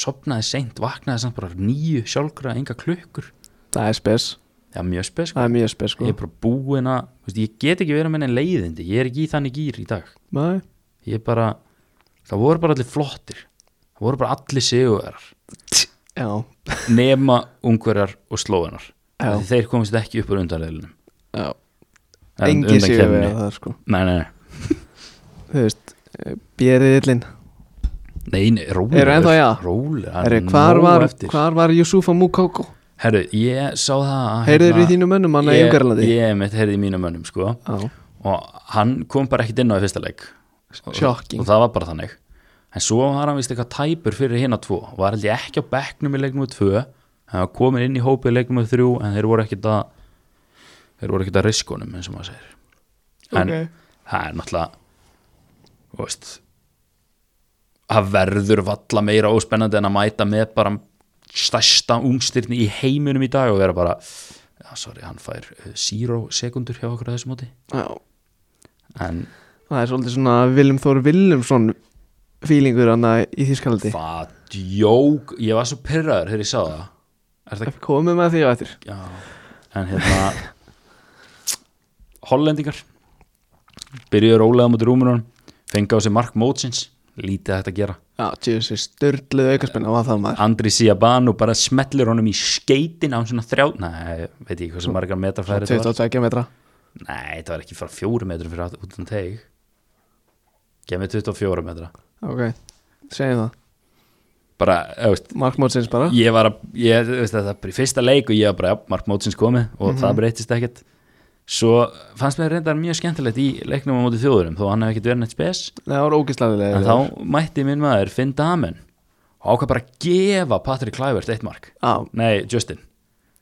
[SPEAKER 2] sopnaði seint, vaknaði samt bara nýju sjálfgra, enga klukkur
[SPEAKER 1] það er spes,
[SPEAKER 2] Já, mjög spes, sko.
[SPEAKER 1] það er mjög spes sko
[SPEAKER 2] ég er bara búin að, veist, ég get ekki verið með enn leiðindi, ég er ekki í þannig gýr í dag
[SPEAKER 1] Nei,
[SPEAKER 2] ég bara það voru bara allir flottir það voru bara allir sigurar
[SPEAKER 1] já,
[SPEAKER 2] nema ungverjar og slóðanar
[SPEAKER 1] Já.
[SPEAKER 2] þeir komist ekki upp úr undanreilunum
[SPEAKER 1] já
[SPEAKER 2] En
[SPEAKER 1] engin
[SPEAKER 2] undan
[SPEAKER 1] séu við
[SPEAKER 2] keppni.
[SPEAKER 1] að það sko
[SPEAKER 2] nei, nei, nei,
[SPEAKER 1] þú veist, eh, bjeriðillin
[SPEAKER 2] nei, nei rólegur,
[SPEAKER 1] Eru ennþá, já?
[SPEAKER 2] rólegur, það er
[SPEAKER 1] Herri, hvar
[SPEAKER 2] nóg
[SPEAKER 1] var,
[SPEAKER 2] eftir.
[SPEAKER 1] hvar var Yusufa Mukoko?
[SPEAKER 2] herru, ég sá það að,
[SPEAKER 1] Heyrður í
[SPEAKER 2] hérna,
[SPEAKER 1] þínu mönnum hann að
[SPEAKER 2] ég-
[SPEAKER 1] Ungarlandi?
[SPEAKER 2] ég mitt heyrði í mínum mönnum sko
[SPEAKER 1] Já,
[SPEAKER 2] og hann kom bara ekkit inn á í fyrsta leik Og-
[SPEAKER 1] Shocking.
[SPEAKER 2] og það var bara þannig en svo var hann vist eitthvað tæpur fyrir hinn að tvo var held ég ekki á bekknum í leiknum 2 hann var komin inn í hópið í leiknum 3 en þeir voru ekkit að þeir voru ekkit að riskunum eins og maður segir en
[SPEAKER 1] Ok.
[SPEAKER 2] það er náttúrulega þú veist það verður valla meira óspennandi en að mæta með bara stærsta ungstyrni í heiminum í dag og vera bara já, sorry, hann fær eh, zero sekundur hjá okkur að þessu móti
[SPEAKER 1] já
[SPEAKER 2] en
[SPEAKER 1] Það er svolítið svona Viljum Þór Viljumsson fílingur hann í Þískalandi
[SPEAKER 2] það djók ég var svo pyrraður þegar ég sá það er það
[SPEAKER 1] Komum með því á eftir
[SPEAKER 2] já, en hérna hollendingar byrjuðu rólega mútið rúmunum fengi á sig Mark Mótsins lítið þetta að gera
[SPEAKER 1] Já, tjóðis, störluð aukaspenna var það maður
[SPEAKER 2] Andri Siabanu bara smetlir honum í skeitin á svona þrjá nei, veit ég hvað sem margar metrafæri þetta var
[SPEAKER 1] 22 metra
[SPEAKER 2] nei, það var ekki frá fjóru metrum fyrir að- utan teg gemið 24 metra
[SPEAKER 1] Ok, segjum það
[SPEAKER 2] bara, þú veist,
[SPEAKER 1] Mark Mótsins bara
[SPEAKER 2] ég var að, ég, þú veist, það er bara í fyrsta leik og ég var bara, já, Mark Mótsins komið og það breytist ekkert svo fannst mér reyndar mjög skemmtilegt í leiknum á móti þjóðurum, þó hann hef ekkert verið neitt spes
[SPEAKER 1] Það var ógislega
[SPEAKER 2] en þá mætti minn maður Finn Damen og ákvað bara að gefa Patrik Klævert eitt mark,
[SPEAKER 1] Já,
[SPEAKER 2] nei, Justin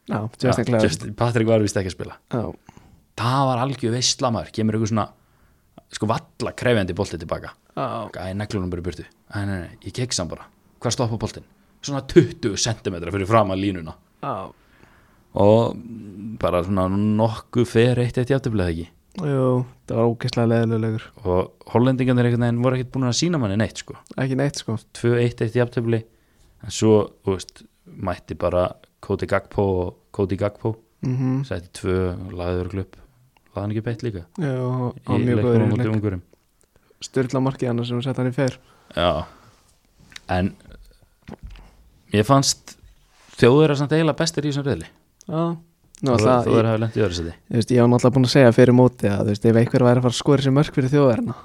[SPEAKER 1] já, Justin
[SPEAKER 2] ja,
[SPEAKER 1] Clever
[SPEAKER 2] Justin, Patrik var vist ekki að spila
[SPEAKER 1] Já,
[SPEAKER 2] það var algjör veistlamar, kemur ykkur svona sko valla krefjandi bolti tilbaka
[SPEAKER 1] já,
[SPEAKER 2] Æ, neglunum bara í burtu Æ, nei, nei, ég keksa hann bara, hvað stoppa boltin? Svona 20 cm fyrir fram að línuna
[SPEAKER 1] já
[SPEAKER 2] og bara svona nokkuð fer eitt eitt játtöflega ekki
[SPEAKER 1] Jú, það var ógislega leðilegur
[SPEAKER 2] og hollendingarnir einhvern veginn voru ekkert búin að sína manni neitt sko,
[SPEAKER 1] Ekki neitt sko
[SPEAKER 2] 2-1 eitt játtöfli en svo, þú veist, mætti bara Cody Gagpo og Cody Gagpo
[SPEAKER 1] Mhm,
[SPEAKER 2] sætti 2, laður klubb laðan ekki beitt líka
[SPEAKER 1] Jú, á
[SPEAKER 2] í
[SPEAKER 1] mjög
[SPEAKER 2] leiknum á móti
[SPEAKER 1] góður
[SPEAKER 2] Ungverjum.
[SPEAKER 1] Störla markið hann sem sett hann í fer
[SPEAKER 2] Já en ég fannst þjóður að samt eiginlega bestir í þessum reyðli
[SPEAKER 1] Já, nú
[SPEAKER 2] þú
[SPEAKER 1] alltaf
[SPEAKER 2] verður að hafa lent í öðru seti
[SPEAKER 1] Þú veist, ég var náttúrulega búin að segja fyrir móti að þú veist, ef einhver væri að fara að skora sér mörg fyrir þjóðverðina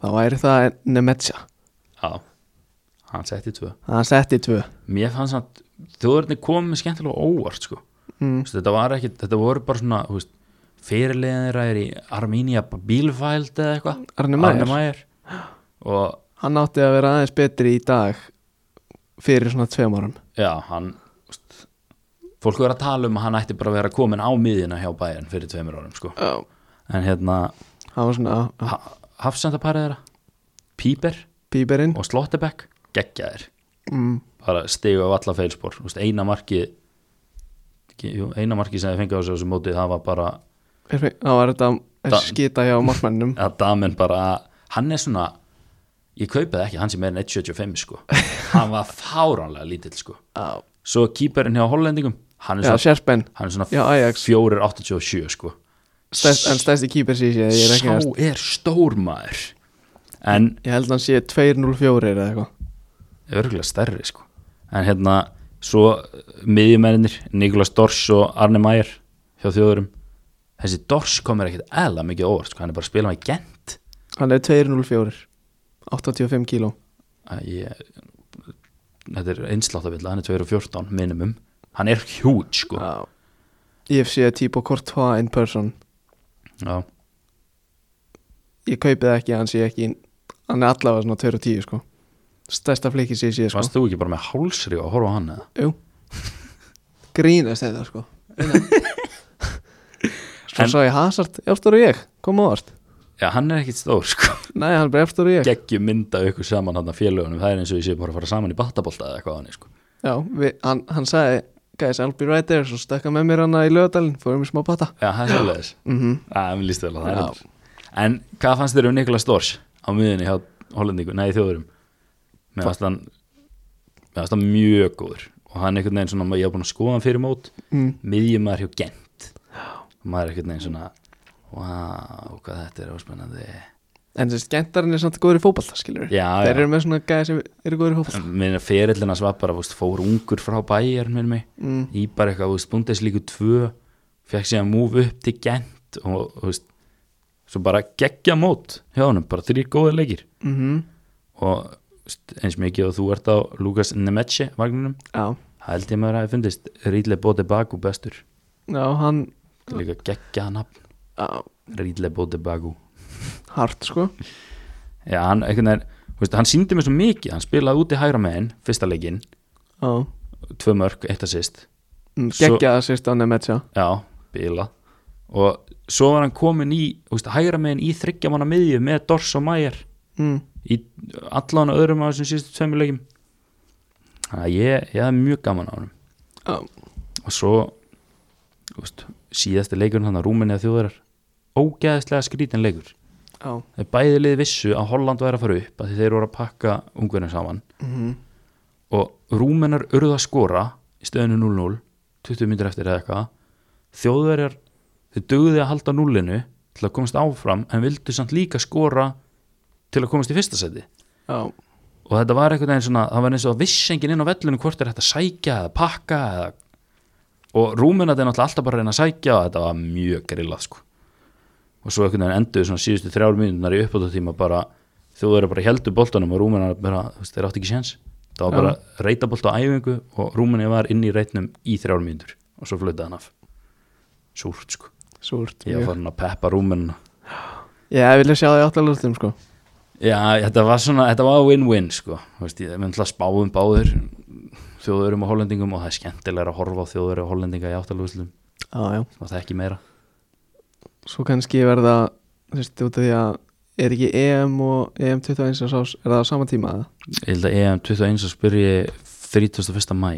[SPEAKER 1] þá væri það Nemetja
[SPEAKER 2] Já, hann setti 2
[SPEAKER 1] hann setti tvö
[SPEAKER 2] Mér fannst að þjóðurinn komið skemmtilega á óvart sko.
[SPEAKER 1] mm.
[SPEAKER 2] Þú veist, þetta var ekki, þetta voru bara svona þú veist, fyrirliðin þeirra er í Armínia Bílfæld eða eitthvað
[SPEAKER 1] Arne Mæjar.
[SPEAKER 2] Mæjar og
[SPEAKER 1] hann átti að vera aðeins betri í dag fyrir svona tveim árum
[SPEAKER 2] já, hann þú veist, fólk verður að tala um að hann ætti bara að vera komin á miðina hjá bæjarn fyrir tveimur árum sko.
[SPEAKER 1] Já.
[SPEAKER 2] en hérna,
[SPEAKER 1] hann var svona
[SPEAKER 2] ha hafsendaparið þeirra Píper
[SPEAKER 1] píberinn
[SPEAKER 2] og Slottebeck geggjaðir
[SPEAKER 1] mm.
[SPEAKER 2] bara stigu af alla feilspor Þú veist, eina marki ekki, jú, eina marki sem þið fengið á sig á þessu móti það var bara
[SPEAKER 1] Fyrir mig- þá var þetta
[SPEAKER 2] Da-
[SPEAKER 1] að skita hjá
[SPEAKER 2] [LAUGHS]
[SPEAKER 1] markmannum
[SPEAKER 2] að damen bara hann er svona ég kaupið ekki hann sem er en 1.75
[SPEAKER 1] [LAUGHS]
[SPEAKER 2] sko hann var fáránlega lítill sko
[SPEAKER 1] Já.
[SPEAKER 2] svo kýperinn hjá hollendingum hann
[SPEAKER 1] Já,
[SPEAKER 2] er svona,
[SPEAKER 1] Sjerspen
[SPEAKER 2] hann er svona
[SPEAKER 1] Já, Ajax.
[SPEAKER 2] 4.87 sko
[SPEAKER 1] Stærst, en stærsti kýper sé ég ég er ekki
[SPEAKER 2] sá
[SPEAKER 1] að
[SPEAKER 2] er stór maður en
[SPEAKER 1] ég held að hann sé 204 eða eitthvað
[SPEAKER 2] örgulega stærri sko en hérna svo miðjumennir Niklas Dors og Arne Mæjar hjá þjóðurum þessi Dors komir ekkert eðla mikið á óvart sko. hann er bara að spila með gent
[SPEAKER 1] hann er 204 85 kíló
[SPEAKER 2] Æ, ég, þetta er einsláttavilla, hann er 214 minimum, hann er huge sko
[SPEAKER 1] Já. Ég hef séð Tíbo Courtois in person
[SPEAKER 2] Já.
[SPEAKER 1] Ég kaupið ekki, hann sé ekki Hann er allavega svona 2 og 10 sko Stærsta flikki sé ég sé sko
[SPEAKER 2] Varst þú ekki bara með hálsríu að horfa á hann eða?
[SPEAKER 1] Jú [LAUGHS] Grínast þetta sko Svo
[SPEAKER 2] En-
[SPEAKER 1] sá ég Hazard Eftir og ég, koma ávart
[SPEAKER 2] Já, hann er ekkit stór [LAUGHS] sko
[SPEAKER 1] Nei, hann er bara eftir og ég
[SPEAKER 2] geggjum mynda ykkur saman hann að félögunum það er eins og ég sé bara að fara saman í battabolta eða eitthvað hann sko.
[SPEAKER 1] Já, við, hann, hann sagði Guys, I'll be right there Svo stökka með mér hana í lögadalinn Fórum í smá pata
[SPEAKER 2] Já, það er svolítið
[SPEAKER 1] Mhm
[SPEAKER 2] Það er líst vel á það
[SPEAKER 1] Já.
[SPEAKER 2] reyndar. En hvað fannst þér um Nikola Stors á miðinni hjá Hollendingu, nei þjóðurum Mér fannst hann Mér fannst hann mjög góður og hann einhvern veginn svona, ég var búin að skoða hann fyrir mót
[SPEAKER 1] mm.
[SPEAKER 2] miðjumar hjá Gent og maður er einhvern veginn svona Vá, hvað þetta er óspennandi
[SPEAKER 1] En þessi gentarinn er samt góður í fótballta, skilur
[SPEAKER 2] Já,
[SPEAKER 1] Þeir
[SPEAKER 2] já,
[SPEAKER 1] eru með svona gæði sem eru góður í fótballta
[SPEAKER 2] minn að ferillina svar bara fórst, fór ungur frá bæjar með mig
[SPEAKER 1] mm.
[SPEAKER 2] í bara eitthvað, þú veist, Bundesliga 2 fekk sér að move upp til Gent og, þú veist, svo bara geggja mót hjá honum, bara þrýr góða leikir
[SPEAKER 1] Mm
[SPEAKER 2] og þú veist, eins mikið og þú ert á Lukas Nemetje vagninum,
[SPEAKER 1] Já,
[SPEAKER 2] það held ég maður að hafa fundist Rídle Bóte Bagu bestur
[SPEAKER 1] já, hann
[SPEAKER 2] Þetta er líka geggja nafn,
[SPEAKER 1] já,
[SPEAKER 2] Rídle Bóte Bagu
[SPEAKER 1] Hart, sko
[SPEAKER 2] já, hann, einhvern veginn, þú veist, hann síndi mér svo mikið hann spilaði úti hægra megin, fyrsta leikinn
[SPEAKER 1] Já,
[SPEAKER 2] tvö mörg, eitt að sýst
[SPEAKER 1] mm,
[SPEAKER 2] Svo-
[SPEAKER 1] geggjaða sérst á Nemetsja
[SPEAKER 2] Já, bila og svo var hann komin í þú veist, hægra megin í þryggjamanna miðju með Dors og Mæjar
[SPEAKER 1] mm.
[SPEAKER 2] í allan og öðrum af þessum síðustu tveimur leikjum þannig að ég, ég hafði mjög gaman á hann
[SPEAKER 1] Já,
[SPEAKER 2] og svo þú veist, síðasti leikurinn hann að Rúminni að þjóðarar ógeðislega skrítin leikur
[SPEAKER 1] já
[SPEAKER 2] þeir bæði liði vissu að Holland væri að fara upp að þeir voru að pakka ungverðin saman
[SPEAKER 1] mm.
[SPEAKER 2] og Rúmenar urðu að skora í stöðinu 0-0 20 mínútur eftir eða eitthvað þjóðverjar, þau dögðu að halda núlinu til að komast áfram en vildu samt líka skora til að komast í fyrsta seti
[SPEAKER 1] Já,
[SPEAKER 2] og þetta var einhvern veginn svona, það var eins og að viss enginn inn á vellunum hvort er þetta að sækja eða pakka eða og rúmina þetta er náttúrulega alltaf bara að reyna að sækja og þetta var mjög grillað sko og svo einhvern veginn enduðu svona síðustu þrjár mínunar í uppbóttatíma bara þjóður bara heldur boltanum og rúmina bara, þú veist, þeir átti ekki séns það var bara ja. reytabolt á æfingu og rúmina var inn í reytnum í þrjár mínundur og svo flötaði hann af súrt sko,
[SPEAKER 1] súrt
[SPEAKER 2] ég var
[SPEAKER 1] mjög.
[SPEAKER 2] farin að peppa rúmina
[SPEAKER 1] Ég vilja sjá það í áttalústum, sko
[SPEAKER 2] Já, þetta var svona, þetta var win-win sko, þú veist, ég myndi að spáum báður þjóðurum og hollendingum og það er skemmtilega að horfa á þjóður og hollendinga í áttalúslum,
[SPEAKER 1] Já, já
[SPEAKER 2] það er ekki meira
[SPEAKER 1] Svo kannski verða, þú veist, út af því að Er ekki EM og EM21 og sás, er það á sama tíma að
[SPEAKER 2] Ég held að EM21 að spyrja 31. mæ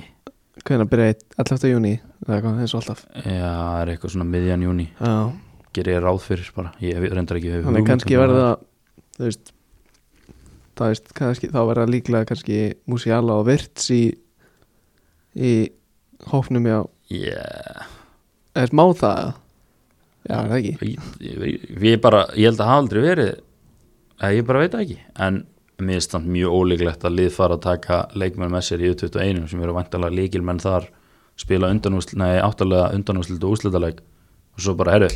[SPEAKER 1] Hvernig að byrja 11. júni, eða eitthvað, eins og alltaf
[SPEAKER 2] Já, það er eitthvað svona miðjan júni
[SPEAKER 1] Já,
[SPEAKER 2] ger ég ráð fyrir bara, ég hef- reyndar ekki hef um
[SPEAKER 1] þannig kannski verða þú veist þá veist kannski, þá verða líklega kannski Musiala og Virts í í hófnum já,
[SPEAKER 2] yeah.
[SPEAKER 1] eða má það eða? já, er það ekki
[SPEAKER 2] ég, ég, ég, bara, ég held að hafa aldrei verið að ég bara veit það ekki en mér er stand mjög ólíklegt að lið fara að taka leikmenn með sér í U21 sem eru vantalega líkilmenn þar spila undanúsl, nei, áttalega undanúslit og úslitaleg og svo bara herru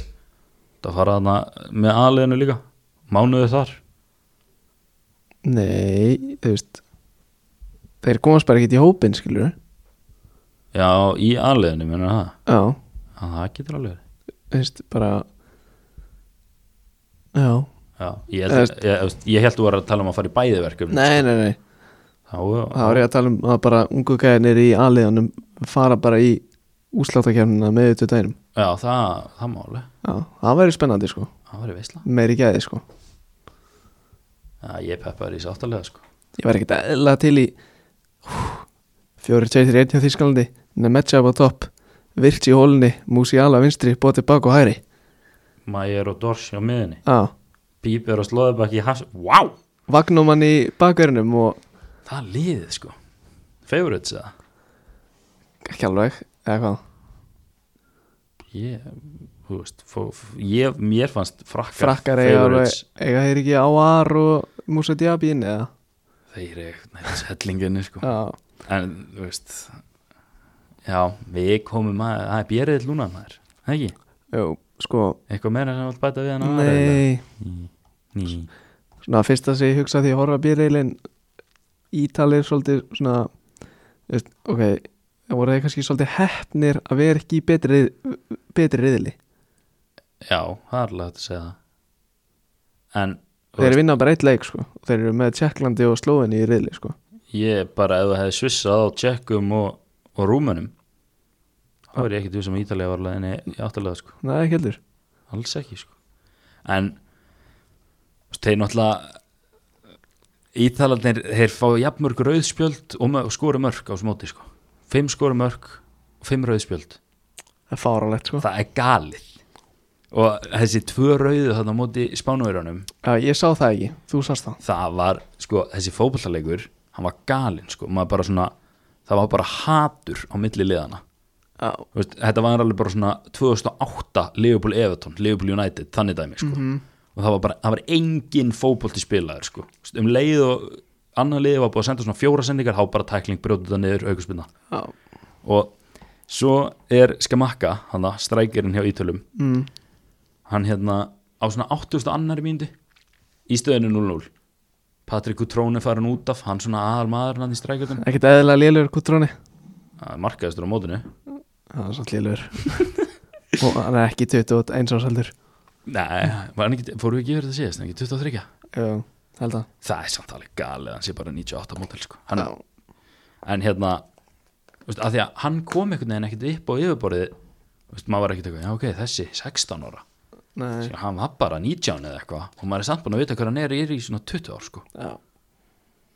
[SPEAKER 2] það fara þarna með aðleginu líka mánuðu þar
[SPEAKER 1] nei, þú veist þeir komast bara ekkert í hópin, skilur
[SPEAKER 2] já, í aðleginu, menur það
[SPEAKER 1] já,
[SPEAKER 2] Já, það getur alveg verið.
[SPEAKER 1] þú veist, bara já,
[SPEAKER 2] já, ég held, ég, ég, þú veist, ég held þú var að tala um að fara í bæði verkefni
[SPEAKER 1] nei, nei, nei
[SPEAKER 2] þá,
[SPEAKER 1] það var ég að tala um að bara ungu gæðinir í aðliðanum fara bara í úsláttakefnina með þetta dænum
[SPEAKER 2] já, það, það máli
[SPEAKER 1] já, það væri spennandi, sko
[SPEAKER 2] það var í veisla
[SPEAKER 1] meiri gæði sko
[SPEAKER 2] Já, ég peppaði því sáttalega sko
[SPEAKER 1] ég var ekkert eðla til í 4-2-3-1 hjá Þískalandi Nemetja á topp Virts í hólunni, Musiala vinstri, bóti bak og hæri
[SPEAKER 2] Mæjar og Dors á miðinni
[SPEAKER 1] á,
[SPEAKER 2] Píper og Slóðabakki í hans Vá,
[SPEAKER 1] Vagnumann í bakverðinum og
[SPEAKER 2] það er liðið sko Favorites eða?
[SPEAKER 1] ekki alveg, eða hvað
[SPEAKER 2] Ég, þú veist fó, f- ég, Mér fannst frakkar
[SPEAKER 1] frakkar eiga alveg,
[SPEAKER 2] favorites
[SPEAKER 1] eiga þeir ekki áar og Musa Diaby inn eða
[SPEAKER 2] Þeir eru setlinginni sko
[SPEAKER 1] já,
[SPEAKER 2] En, þú veist Já, við komum að Það er bjerðið lúna maður, það ekki?
[SPEAKER 1] jú, sko
[SPEAKER 2] Eitthvað meira sem vilt bæta við hann
[SPEAKER 1] nei,
[SPEAKER 2] Ný,
[SPEAKER 1] svona fyrsta sem ég hugsa því að horfa býrreilin ítalir svolítið svona Veist, ok, það voru þeir kannski svolítið hefnir að vera ekki í betri, riðli- betri riðli
[SPEAKER 2] já, það er alveg hægt að segja það en þú
[SPEAKER 1] þeir
[SPEAKER 2] veist,
[SPEAKER 1] vinna bara eitt leik sko og þeir eru með Tjekklandi og Slóðinni í riðli sko
[SPEAKER 2] ég bara ef það hefði svissað á tjekkum og, og rúmunum þá er ég ekki því sem Ítalía var alveg en ég áttalega sko
[SPEAKER 1] Nei, ekki heldur
[SPEAKER 2] alls ekki sko en þú veist, þeir náttúrulega Ítalarnir, þeir fá jafnmörg rauðspjöld og, mö- og skora mörg á þessu móti sko fimm skora mörg og fimm rauðspjöld
[SPEAKER 1] Það er fáralegt sko
[SPEAKER 2] það er galið og þessi tvö rauðu þarna á móti spánverjunum
[SPEAKER 1] Já, ég sá það ekki, þú sást það
[SPEAKER 2] það var, sko, þessi fótballalegur hann var galinn, sko, maður bara svona það var bara hatur á milli liðana
[SPEAKER 1] Já,
[SPEAKER 2] Þú veist, þetta var alveg bara svona 2008 Liverpool Everton, Liverpool United þannig dæmi, sko og það var bara, það var engin fótbolti spilaður, sko Þú veist, um leið og annar leið var búið að senda svona fjóra sendingar, þá bara tækling brjótið það niður aukuspinna
[SPEAKER 1] já,
[SPEAKER 2] og svo er Skamakka, hann það, strækirinn hjá Ítölum
[SPEAKER 1] mm,
[SPEAKER 2] hann hérna á svona 8000 annari mínútu í stöðinu 0-0 Patrik Kutrón er farin út af hann svona aðal maður hann í strækjöldum
[SPEAKER 1] ekkert eðlilega lélur kutróni
[SPEAKER 2] markaðistur á mótinu
[SPEAKER 1] Það er svolítið [LAUGHS] lélur og hann er ekki 21 árs heldur
[SPEAKER 2] Nei, var hann ekki, fóru ekki verið að síðast ekki 23
[SPEAKER 1] Já, held að
[SPEAKER 2] það er samt alveg galið, hann sé bara 98 mótel sko. Hann-
[SPEAKER 1] Já,
[SPEAKER 2] en hérna þú veist, að því að hann kom einhvern veginn ekkert upp á yfirborðið þú veist, maður var ekkert eitthvað, já ok, þessi 16 ára
[SPEAKER 1] nei,
[SPEAKER 2] Sér, hann var bara 19 eða eitthvað og maður er samt búin að vita hvað hann er, er í svona 20 ár sko.
[SPEAKER 1] já,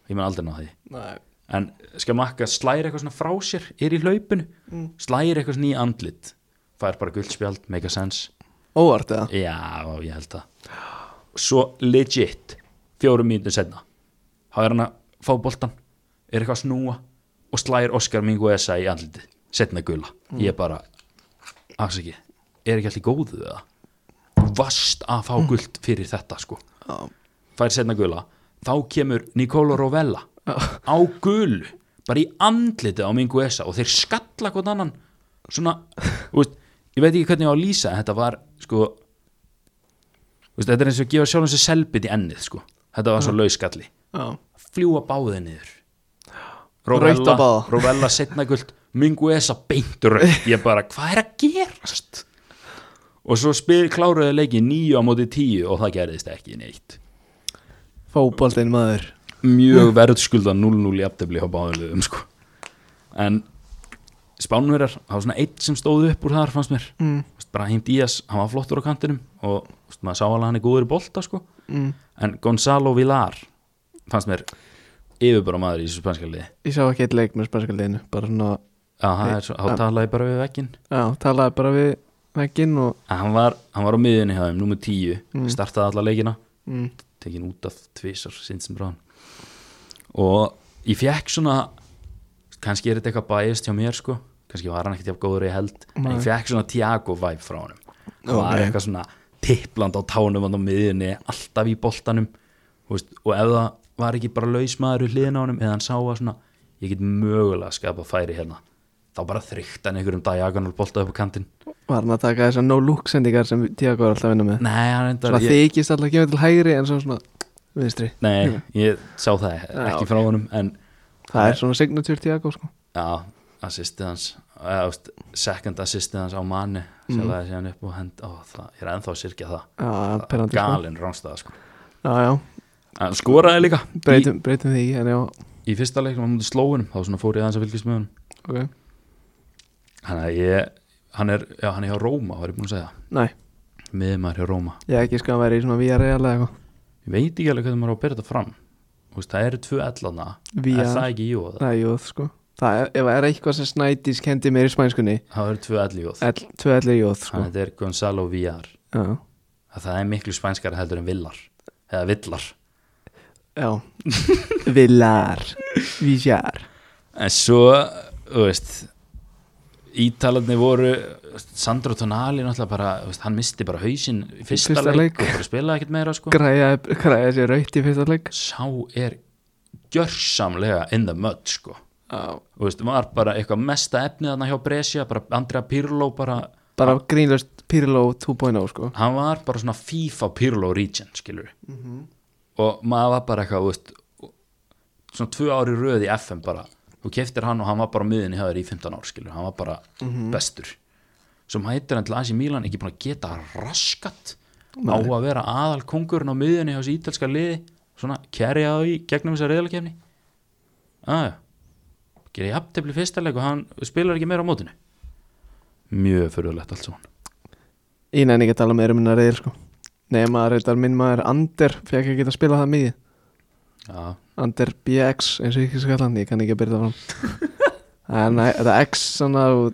[SPEAKER 2] ég menn aldrei ná því
[SPEAKER 1] nei
[SPEAKER 2] en Skamakka slæri eitthvað svona frá sér er í hlaupinu, mm. slæri eitthvað svona í andlit fær bara guldspjald, make a sense
[SPEAKER 1] Óvart eða?
[SPEAKER 2] já, ég held það svo legit fjórum mínútur senna þá er hann að fá boltan er eitthvað að snúa og slæri Oscar Minguesa í andlitið, setna gula ég bara, afsakið er ekki allir góðu eða vast að fá guld fyrir þetta sko
[SPEAKER 1] Já,
[SPEAKER 2] fær setna gula þá kemur Nicolo Rovella á gulu bara í andlitið á Minguesa og þeir skalla hvort annan svona, þú veist, ég veit ekki hvernig ég á að lýsa en þetta var sko þú veist, þetta er eins og að gefa sjálfum sér selbit í ennið sko, þetta var svo lauskalli
[SPEAKER 1] já,
[SPEAKER 2] fljúa báðið niður
[SPEAKER 1] Rautt á báða.
[SPEAKER 2] Rovella setna guld Minguesa beintur ég bara, hvað er að gerast og svo spyr kláruðu leikið nýju á móti tíu og það gerðist ekki neitt
[SPEAKER 1] fótboltinn maður
[SPEAKER 2] mjög verðskulda 0-0 í aftefli á báðurliðum sko. en spánverjar, það var svona eitt sem stóð upp úr þar fannst mér,
[SPEAKER 1] Mm.
[SPEAKER 2] Vist, Brahim Díaz hann var flottur á kantinum og vist, maður sá alveg að hann er góður í bolta sko.
[SPEAKER 1] mm.
[SPEAKER 2] en Gonzalo Villar fannst mér yfirbara maður í þessu spanska liði
[SPEAKER 1] Ég sá ekki eitt leik með spærskaldeinu bara svona,
[SPEAKER 2] Já, það er svo- þá
[SPEAKER 1] Nei,
[SPEAKER 2] talaði ég bara við vekkin
[SPEAKER 1] já, talaði bara við vegginn og
[SPEAKER 2] hann var, hann var á miðunni hjá þeim, númer 10
[SPEAKER 1] Mm.
[SPEAKER 2] startaði alla leikina
[SPEAKER 1] mm,
[SPEAKER 2] tekin út af tvisar sinnsum bráðan og ég fekk svona kannski er þetta eitthvað bæjast hjá mér sko kannski var hann ekkert hjá góður í held en ég
[SPEAKER 1] Nei.
[SPEAKER 2] fekk svona Tiago vibe frá honum hann var
[SPEAKER 1] Ok.
[SPEAKER 2] eitthvað svona tippland á tánum hann á miðunni, alltaf í boltanum þú veist, og ef það var ekki bara lausmaður í hliðin á honum eða hann sá að svona ég get mögulega að skapa færi hérna þá bara þrygt hann einhverjum diagonal bolta upp á kantinn
[SPEAKER 1] var hann að taka þessar no look sendingar sem Tiago er alltaf að vinna með
[SPEAKER 2] Nei, hann reyndar
[SPEAKER 1] svona
[SPEAKER 2] ég-
[SPEAKER 1] þykist alltaf að kemur til hægri en svo svona vinstri
[SPEAKER 2] Nei, ég sá það
[SPEAKER 1] Já,
[SPEAKER 2] ekki
[SPEAKER 1] ok.
[SPEAKER 2] frá honum en
[SPEAKER 1] það er svona signature Tiago sko
[SPEAKER 2] Já, assistið hans eða, þú veist, second assistið hans á manni
[SPEAKER 1] Mhm.
[SPEAKER 2] sem það er síðan upp og hend ó, það, ég er ennþá að sirkja það
[SPEAKER 1] já,
[SPEAKER 2] það er
[SPEAKER 1] perandi sko
[SPEAKER 2] galinn rámstæða sko.
[SPEAKER 1] já, já,
[SPEAKER 2] en skoraði líka í,
[SPEAKER 1] breytum, breytum því en já,
[SPEAKER 2] í fyrsta leiknum á múti slóunum þá svona fór ég aðeins að fylgjast með honum
[SPEAKER 1] ok,
[SPEAKER 2] hann er, ég, hann er, já, hann er hjá Róma var ég búin að segja,
[SPEAKER 1] næ
[SPEAKER 2] miðmaður hjá Róma
[SPEAKER 1] ég hef ekki sko að vera í svona VR eða eitthvað
[SPEAKER 2] ég veit ekki alveg hvernig maður á að byrja þetta fram Þú veist, það eru tvö ellana
[SPEAKER 1] VR.
[SPEAKER 2] er það ekki jóð,
[SPEAKER 1] það er jóð sko það er, ef það er eitthvað sem Snædís kendi mér í spænskunni
[SPEAKER 2] það eru tvö elli jóð
[SPEAKER 1] ell, tvö ellir jóð sko
[SPEAKER 2] þannig þetta er Gonzalo Villar
[SPEAKER 1] já,
[SPEAKER 2] að það er miklu spænskara heldur en Villar eða Villar
[SPEAKER 1] já villar, vísjar
[SPEAKER 2] En svo, þú veist Ítalarni voru Sandro Tonali náttúrulega bara þú veist, hann misti bara hausinn í fyrsta,
[SPEAKER 1] Fyrsta
[SPEAKER 2] leik,
[SPEAKER 1] leik.
[SPEAKER 2] og bara spilaði ekkert meira sko
[SPEAKER 1] græja, græja sér rautt í fyrsta leik
[SPEAKER 2] Sá er gjörsamlega in the mud sko
[SPEAKER 1] já,
[SPEAKER 2] Þú veist, var bara eitthvað mesta efnið þarna hjá Brescia, bara Andrea Pirlo bara,
[SPEAKER 1] bara grínlöst Pirlo 2.0 sko
[SPEAKER 2] hann var bara svona FIFA Pirlo region, skilur og maður var bara eitthvað, þú veist svona tvö ári röð í FM bara þú keftir hann og hann var bara miðin í höður í 15 ár skilur, hann var bara bestur svo mætir hann til Asi Milan ekki búin að geta raskat á að vera aðal kongurinn á miðinni hjá þessu ítalska liði svona kerja á í gegnum þessa reyðalakefni aðja gerir jafntefli fyrsta leik og hann spilar ekki meira á mótinu mjög fyrirlegt allt svona
[SPEAKER 1] Ég nefn ekki að tala meira um minna reyðir sko Nei, maður reyndar minn maður Ander fekk ekki að spila það mikið
[SPEAKER 2] já,
[SPEAKER 1] Ander BX eins og ég ekki skall hann Ég kann ekki að byrja það [LAUGHS] fram En það- þetta X svona og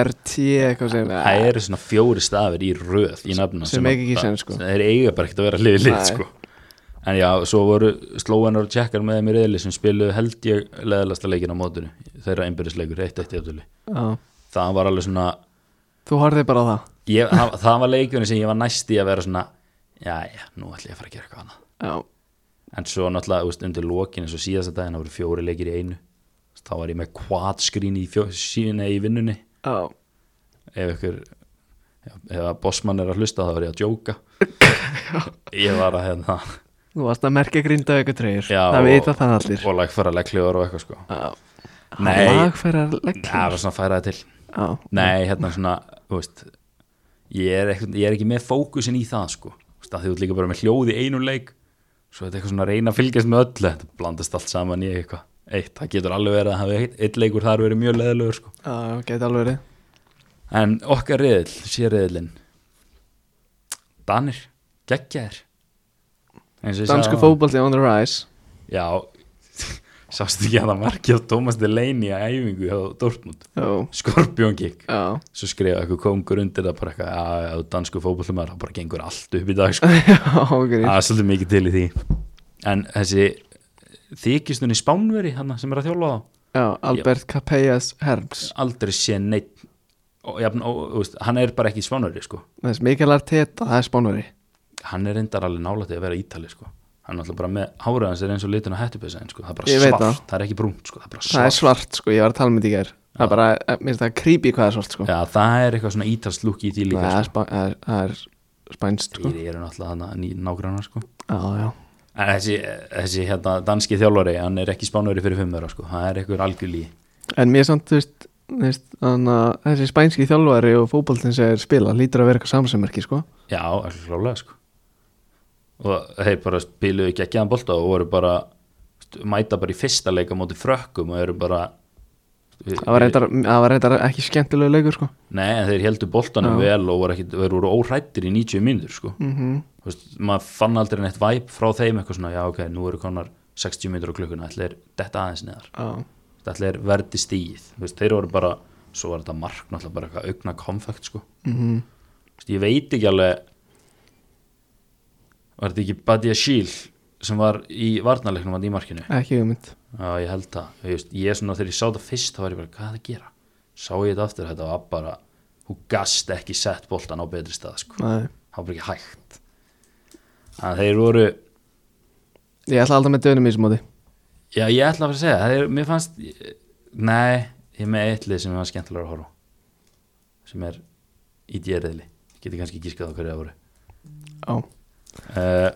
[SPEAKER 1] RT eitthvað sem
[SPEAKER 2] það eru svona fjóri stafir í röð í nafnum
[SPEAKER 1] Sem make ekki
[SPEAKER 2] að-
[SPEAKER 1] sense, sko.
[SPEAKER 2] sem þeir eiga bara ekkert að vera liðið lið
[SPEAKER 1] Nei.
[SPEAKER 2] sko. en já, svo voru slóenar og tjekkar með þeim í reyðli sem spiluðu held ég leðalasta leikin á mótinu þeirra einbyrðisleikur, eitt eitt jafntölu
[SPEAKER 1] Já.
[SPEAKER 2] það var alveg svona
[SPEAKER 1] Þú horfði bara á það
[SPEAKER 2] ég, það, það var leikunni sem ég var næst í að vera svona já, já, nú ætlum ég að fara að gera eitthvað annað
[SPEAKER 1] Já,
[SPEAKER 2] en svo náttúrulega, þú veist, undir lokin eins og síðasta daginn, það voru fjóri leikir í einu þá var ég með quad screen í fjó, síðan í vinnunni
[SPEAKER 1] já
[SPEAKER 2] ef ykkur ef, ef að bossmann er að hlusta þá er ég að djóka ég var að hérna
[SPEAKER 1] Þú varst að merkja grinda eitthvað treyjur
[SPEAKER 2] já,
[SPEAKER 1] Það vita það allir
[SPEAKER 2] og lagfæra leggljóður og eitthvað sko
[SPEAKER 1] Já.
[SPEAKER 2] Nei.
[SPEAKER 1] Lagfærar leggli
[SPEAKER 2] það var svona að færa það til
[SPEAKER 1] Já,
[SPEAKER 2] nei, hérna svona, þú veist ég er, ekki, ég er ekki með fókusin í það sko Þú veist, að því þú ert líka bara með hljóð í einum leik svo þetta er eitthvað svona að reyna að fylgjast með öllu þetta blandast allt saman í eitthvað eitt, það getur alveg verið að hafa eitt, eitt leikur þar verið mjög leðilegur sko
[SPEAKER 1] já, geti alveg verið
[SPEAKER 2] En okkar reyðil, sér reyðilinn Danir, geggjaðir Eins og ég sagði
[SPEAKER 1] Dansku
[SPEAKER 2] áðan.
[SPEAKER 1] fótbolti on the rise
[SPEAKER 2] Já, [LAUGHS] sástu ekki að það markið á Thomas Delaney að æfingu hjá Dortmund
[SPEAKER 1] Já,
[SPEAKER 2] Skorpjón gikk
[SPEAKER 1] já
[SPEAKER 2] Svo skrifa eitthvað kongur undir það bara eitthvað að, að dansku fótbollumar, það bara gengur allt upp í dag sko.
[SPEAKER 1] Já, [LAUGHS] grín
[SPEAKER 2] Það er svolítið mikið til í því En þessi þykistunni spánveri hann sem er að þjálfa þá
[SPEAKER 1] Já, Albert Capellas Herms
[SPEAKER 2] aldrei sé neitt og, jafn, og, og, veist, hann er bara ekki spánveri sko.
[SPEAKER 1] Það er mikil Arteta, það er spánveri
[SPEAKER 2] hann er reyndar alveg nálætti að vera ítali sko. hann er alltaf bara með hárið hans er eins og litin á hættupessa sko. það er bara
[SPEAKER 1] Ég veit
[SPEAKER 2] svart,
[SPEAKER 1] það.
[SPEAKER 2] það. er ekki brúnt sko. það er bara
[SPEAKER 1] Það er
[SPEAKER 2] svart, Ah.
[SPEAKER 1] svart, sko, ég var að tala með því gær Það er bara, eh, mér finnst það creepy hvað það er svart, sko
[SPEAKER 2] Já, það er eitthvað svona ítalsk lúk í því
[SPEAKER 1] Nei,
[SPEAKER 2] líka
[SPEAKER 1] Það
[SPEAKER 2] sko.
[SPEAKER 1] er spa- það er- það er spænst, sko
[SPEAKER 2] þeir eru náttúrulega hann ný nágrannar sko.
[SPEAKER 1] Já, já
[SPEAKER 2] en þessi, þessi hérna, danski þjálfari hann er ekki spánveri fyrir fimmur sko. það er eitthvað algjörlí
[SPEAKER 1] En mér samt, þú veist, þú veist þannig að þessi spænski þjálfari og fótboltin sem er spila lítur að vera eitthvað samsemmerki, sko
[SPEAKER 2] já, alveg klálega sko. og þeir bara spiluðu ekki að geðan bolta og voru bara mæta bara í fyrsta leika móti frökkum og eru bara
[SPEAKER 1] Það var reyndar, það var reyndar ekki skemmtilegu leikur, sko
[SPEAKER 2] Nei, en þeir heldur boltanum vel og voru, ekkit, voru órættir í 90 mínútur sko. mm
[SPEAKER 1] Mhm.
[SPEAKER 2] -hmm. Vist, maður fann aldrei neitt væp frá þeim eitthvað svona, já ok, nú eru konar 60 mínútur á klukkuna, ætla er detta aðeins neðar
[SPEAKER 1] Já,
[SPEAKER 2] ætla er verði stíð Vist, þeir voru bara, svo var þetta mark náttúrulega bara eitthvað augna konfekt sko. mm
[SPEAKER 1] Mhm.
[SPEAKER 2] Vist, ég veit ekki alveg var þetta ekki Badia Shiel sem var í varnarleiknum hann í markinu
[SPEAKER 1] ekki ummynd
[SPEAKER 2] Já, ég held það. Ég, veist, ég svona þegar ég sá það fyrst þá var ég bara, hvað er það að gera? Sá ég þetta aftur, þetta var bara, hún gast ekki sett boltan á betri stað, sko.
[SPEAKER 1] Nei
[SPEAKER 2] Það var bara ekki hægt. Þannig að þeir voru,
[SPEAKER 1] Ég ætla alltaf með dönum í þessu móti
[SPEAKER 2] já, ég ætla að fara að segja, það. þeir, mér fannst, nei, ég er með eitt lið sem mér fannst skemmtilega að horfa á, sem er í djeriðli. Ég geti kannski gískað á hverju það voru.
[SPEAKER 1] Já,
[SPEAKER 2] Uh,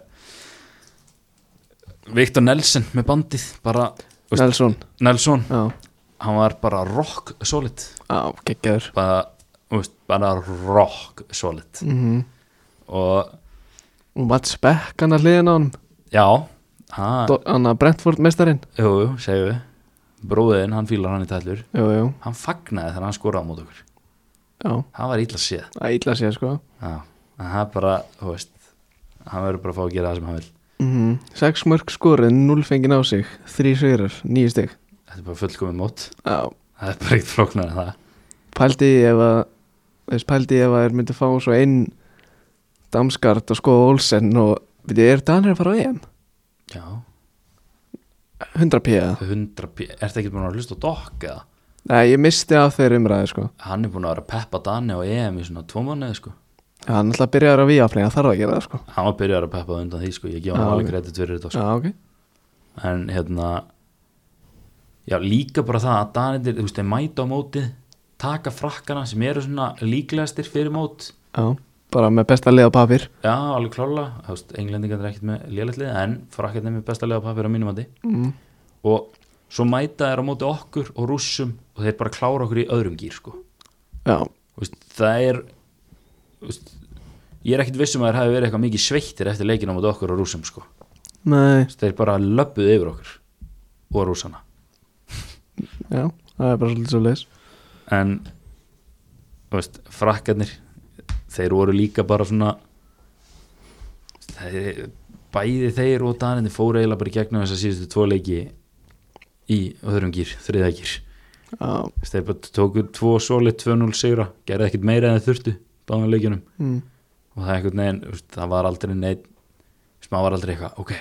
[SPEAKER 2] Viktor Nelson með bandið, bara, veist-
[SPEAKER 1] Nelson
[SPEAKER 2] Nelson,
[SPEAKER 1] Já,
[SPEAKER 2] hann var bara rock solid.
[SPEAKER 1] já, geggjaður
[SPEAKER 2] bara, þú veist, bara rock solid
[SPEAKER 1] Mhm
[SPEAKER 2] og
[SPEAKER 1] Og Mats Beck hann að hliðin á hann
[SPEAKER 2] já ha,
[SPEAKER 1] Do- hann að Brentford mestarinn
[SPEAKER 2] jú, jú, segju við bróðin, hann fílar hann í tællur
[SPEAKER 1] Jú, jú,
[SPEAKER 2] hann fagnaði þegar hann skoraði á mót okkur
[SPEAKER 1] já,
[SPEAKER 2] það var illa séð
[SPEAKER 1] það er illa að sé sko
[SPEAKER 2] já, en það er bara, þú veist hann verður bara að fá að gera það sem hann vil
[SPEAKER 1] mm Sex mörg skorið, 0 fengið á sig Þrý sigrar, níu stig
[SPEAKER 2] þetta er bara fullkomið mót,
[SPEAKER 1] Já,
[SPEAKER 2] það er bara eitt flóknar en það
[SPEAKER 1] pældi ég ef að veist, Pældi ég ef að þeir myndi fá svo einn Damskart og skoða Olsen Og veit ég, er Danir að fara á EM?
[SPEAKER 2] já,
[SPEAKER 1] 100 p
[SPEAKER 2] 100 p, ertu ekki búin að hlusta á dokk eða?
[SPEAKER 1] Nei, ég misti af þeir umræði sko
[SPEAKER 2] hann er búin að vera að peppa Dani og EM í svona tvo mánuði sko
[SPEAKER 1] Já, hann alltaf byrjar að víja Það þarf að gera það sko
[SPEAKER 2] hann var byrjar að peppa á undan því sko, ég gef hann
[SPEAKER 1] Já,
[SPEAKER 2] alveg
[SPEAKER 1] ok.
[SPEAKER 2] kredit fyrir þetta sko.
[SPEAKER 1] Já, ok
[SPEAKER 2] en hérna já líka bara það að Danir þú veist þeir mæta á mótið taka frakkana sem eru svona líklegastir fyrir mót
[SPEAKER 1] Já, bara með besta lið á papir
[SPEAKER 2] já alveg klála, þú veist englendingar er ekkert með lélætlið en frakkarnir er með besta lega papir á mínum andi
[SPEAKER 1] mm.
[SPEAKER 2] og svo mæta þeir á móti okkur og rússum og þeir bara klára okkur í öðrum gýr sko.
[SPEAKER 1] já,
[SPEAKER 2] Þú veist, það er þú veist, ég er ekkit vissum að þeir hafi verið eitthvað mikið sveittir eftir leikin á móti okkur og rússum sko. Þú
[SPEAKER 1] nei,
[SPEAKER 2] veist, þeir bara löbbuðu yfir okkur og rússana
[SPEAKER 1] já það er bara svolítið svo leis
[SPEAKER 2] en þú veist, frakkarnir þeir voru líka bara svona þeir, bæði þeir og daninni fóru eiginlega bara í gegnum þess að síðustu tvo leiki í öðrum gýr, þriða gýr
[SPEAKER 1] já,
[SPEAKER 2] þeir bara tóku tvo solid 2-0 sigra, gerði ekkert meira en þeir þurftu báðan leikjunum
[SPEAKER 1] mm.
[SPEAKER 2] og það er einhvern veginn, þú veist, það var aldrei neitt smá var aldrei eitthvað, ok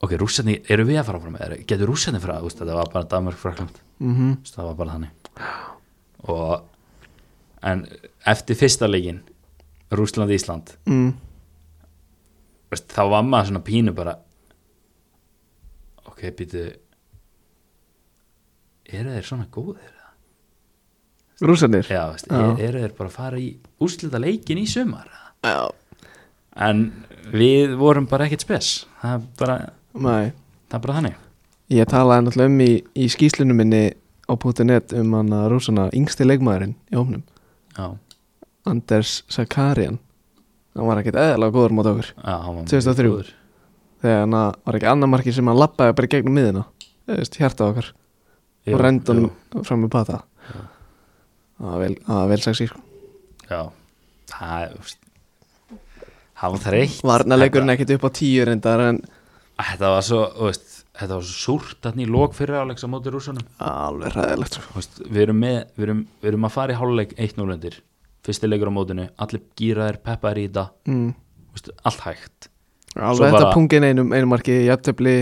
[SPEAKER 2] ok, rússarni, eru við að fara fram eða getur rússarni fara, þú veist, þetta var bara Danmark frakland
[SPEAKER 1] Mm
[SPEAKER 2] Þú veist, það var bara þannig og en eftir fyrsta leikin Rúsland Ísland
[SPEAKER 1] mm.
[SPEAKER 2] veist, þá var maður svona pínu bara ok, býtu eru þeir svona góðir? eða?
[SPEAKER 1] rúsarnir
[SPEAKER 2] Já, veist,
[SPEAKER 1] Já.
[SPEAKER 2] er, eru þeir bara að fara í úslita leikin í sumar? eða?
[SPEAKER 1] já,
[SPEAKER 2] en við vorum bara ekkert spes það er bara,
[SPEAKER 1] nei
[SPEAKER 2] það er bara þannig
[SPEAKER 1] Ég talaði náttúrulega um í, í skýslunum minni á .net um hann að rúsana yngsti leikmaðurinn í ofnum
[SPEAKER 2] já,
[SPEAKER 1] Anders Sakarian hann var ekkert eðalega góður mot okkur
[SPEAKER 2] já, hann var mjög
[SPEAKER 1] 2003.
[SPEAKER 2] góður.
[SPEAKER 1] þegar hann að- var ekki annar marki sem hann lappaði bara í gegnum miðina eða veist, hjarta okkar
[SPEAKER 2] Jú,
[SPEAKER 1] og rendi
[SPEAKER 2] jú.
[SPEAKER 1] hann fram með pata það var vel, það var vel sagt sér sko
[SPEAKER 2] Já Það er þú veist, Það var þreytt
[SPEAKER 1] varnalegurinn ekkert upp á tíu reyndar en
[SPEAKER 2] Þetta- Þetta var svo, þú veist Þetta var svo súrt hann í lók fyrir áleiks á móti rússunum
[SPEAKER 1] alveg ræðilegt sko
[SPEAKER 2] Þú veist, Við erum með, við erum, við erum að fara í hálfleik 1-0 undir Fyrsti leikur á mótinu, allir gýraðir, peppaðir í þetta
[SPEAKER 1] mm.
[SPEAKER 2] Þú veist, Allt hægt Svo
[SPEAKER 1] alveg þetta
[SPEAKER 2] bara-
[SPEAKER 1] pungin einum, einum marki jafntefli,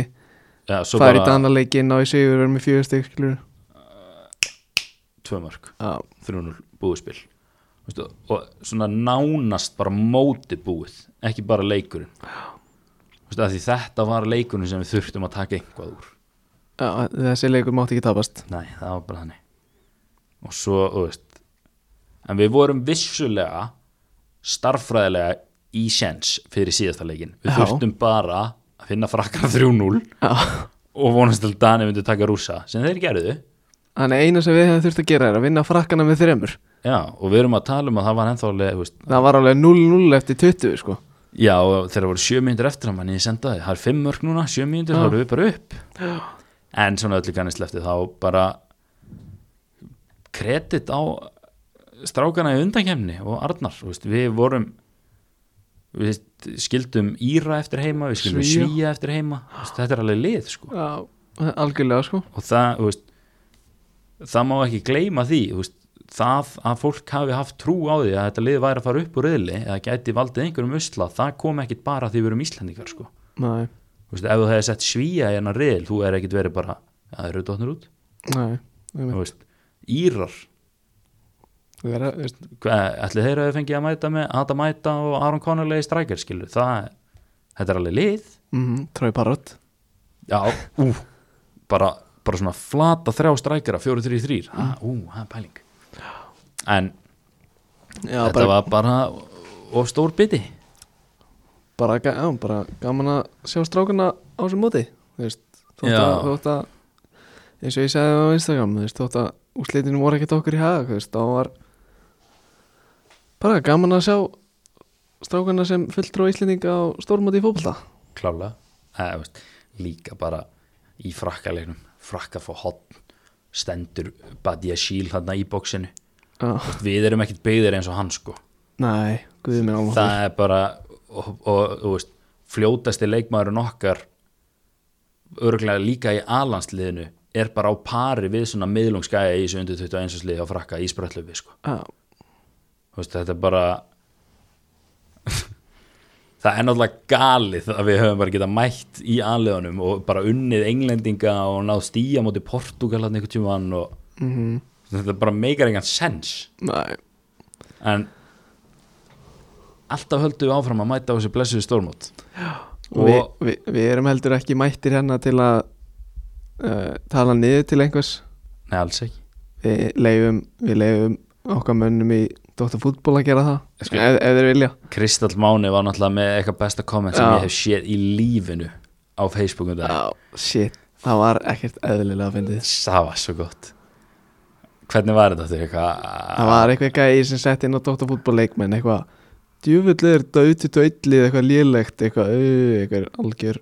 [SPEAKER 2] Já, svo
[SPEAKER 1] fær í
[SPEAKER 2] bara
[SPEAKER 1] danarleikin og í sigur verður með fjögur stygg skilur
[SPEAKER 2] tvö mörg
[SPEAKER 1] já,
[SPEAKER 2] 3-0 búiðspil Vistu, og svona nánast bara móti búið ekki bara leikurinn Vistu, því þetta var leikurinn sem við þurftum að taka eitthvað úr
[SPEAKER 1] já, þessi leikur mátti ekki tapast
[SPEAKER 2] Nei, það var bara þannig og svo, þú veist en við vorum vissulega starffræðilega í sens fyrir síðasta leikin við
[SPEAKER 1] Já.
[SPEAKER 2] þurftum bara að finna [LAUGHS] frakkar 3-0
[SPEAKER 1] já
[SPEAKER 2] og vonast til Dani myndi taka rúsa sem þeir gerðu
[SPEAKER 1] Þannig eina sem við hefum þurft að gera er að vinna frakkana með þremur
[SPEAKER 2] já, og við erum að tala um að það var ennþálega þú veist,
[SPEAKER 1] Það var alveg 0-0 eftir 20 sko
[SPEAKER 2] já, og þegar það voru sjö mínútur eftir hann ég sendaði, það er fimm mörg núna, sjö mínútur
[SPEAKER 1] Já.
[SPEAKER 2] þá erum við bara upp en svona öllu kannist lefti þá bara kredit á strákana í undankemni og Arnar, þú veist, við vorum við skildum Íra eftir heima, við skildum
[SPEAKER 1] Svía.
[SPEAKER 2] Svíja, eftir heima þú veist, þetta er alveg lið sko
[SPEAKER 1] Já, algjörlega sko
[SPEAKER 2] og það, þú veist, það má ekki gleyma því þú veist, það að fólk hafi haft trú á því að þetta lið væri að fara upp úr riðli eða gæti valdið einhverjum usla, það kom ekkit bara því við erum Íslendingar sko.
[SPEAKER 1] Nei,
[SPEAKER 2] Þú veist, ef þú hefði sett svíja í hennar riðil þú er ekkit verið bara, "Já, það eru dotnir út
[SPEAKER 1] nei einmitt.
[SPEAKER 2] Þú veist, Írar,
[SPEAKER 1] Það er að- veist,
[SPEAKER 2] hvað- ætli þeir hafi fengið að mæta með Adam Mæta og Aron Connolly strækjar skilur, það, þetta er alveg lið
[SPEAKER 1] mhm, Trói Parrot
[SPEAKER 2] Já, ú, bara, bara svona flata þrjá strækjara, fjóru, þrjú, þrýr Ú, það er pæling En
[SPEAKER 1] Já,
[SPEAKER 2] þetta
[SPEAKER 1] bara,
[SPEAKER 2] var bara of stór biti
[SPEAKER 1] bara, ga- já, bara gaman að sjá strákana á sem móti Þú veist, þótt
[SPEAKER 2] Já.
[SPEAKER 1] að, þótt að eins og ég segði á Instagram þú veist, þótt að úrslitinu voru ekkert okkur í hag þú veist, þá var bara gaman að sjá strákana sem fulltrú Íslendinga á stórmóti í fótbolta
[SPEAKER 2] Klálega Eða, þú veist, Líka bara í frakkalegnum Frakka fór hotn Stendur Badia Shield þarna í bóksinu
[SPEAKER 1] Já,
[SPEAKER 2] Við erum ekkit byggðir eins og hann sko
[SPEAKER 1] nei, guðið minn alveg
[SPEAKER 2] Það er bara og, og, þú veist, fljótasti leikmaðurinn okkar örgulega líka í alansliðinu er bara á pari við svona miðlungsgæja í þessu undir 21 sliði á frakka í spröllufi sko.
[SPEAKER 1] Já,
[SPEAKER 2] Þú veist, þetta er bara [LAUGHS] það er náttúrulega galið að við höfum bara getað mætt í anleðunum og bara unnið englendinga og náð stíja móti Portugalan einhvern tímann og
[SPEAKER 1] mm
[SPEAKER 2] þetta bara meikar engan sens
[SPEAKER 1] Nei,
[SPEAKER 2] en alltaf höldum við áfram að mæta á þessu blessuðu stórmót
[SPEAKER 1] og við, við, við erum heldur ekki mættir hérna til að uh, tala niður til einhvers
[SPEAKER 2] nei alls ekki
[SPEAKER 1] við leifum, við leifum okkar mönnum í Dóttar fútból að gera það
[SPEAKER 2] Ég skal-
[SPEAKER 1] ef, ef þeir vilja
[SPEAKER 2] Kristall Máni var náttúrulega með eitthvað besta komment sem
[SPEAKER 1] Já.
[SPEAKER 2] ég hef séð í lífinu á Facebookum það
[SPEAKER 1] Já, shit, það var ekkert eðlilega að fyndið
[SPEAKER 2] það var svo gott hvernig var þetta þau
[SPEAKER 1] það
[SPEAKER 2] eitthvað
[SPEAKER 1] var eitthvað gæði sem sett inn á Dóttarfútból leikmenn eitthvað djúvöldur, dauti, dautlið, eitthvað lélegt eitthvað, ö, eitthvað algjör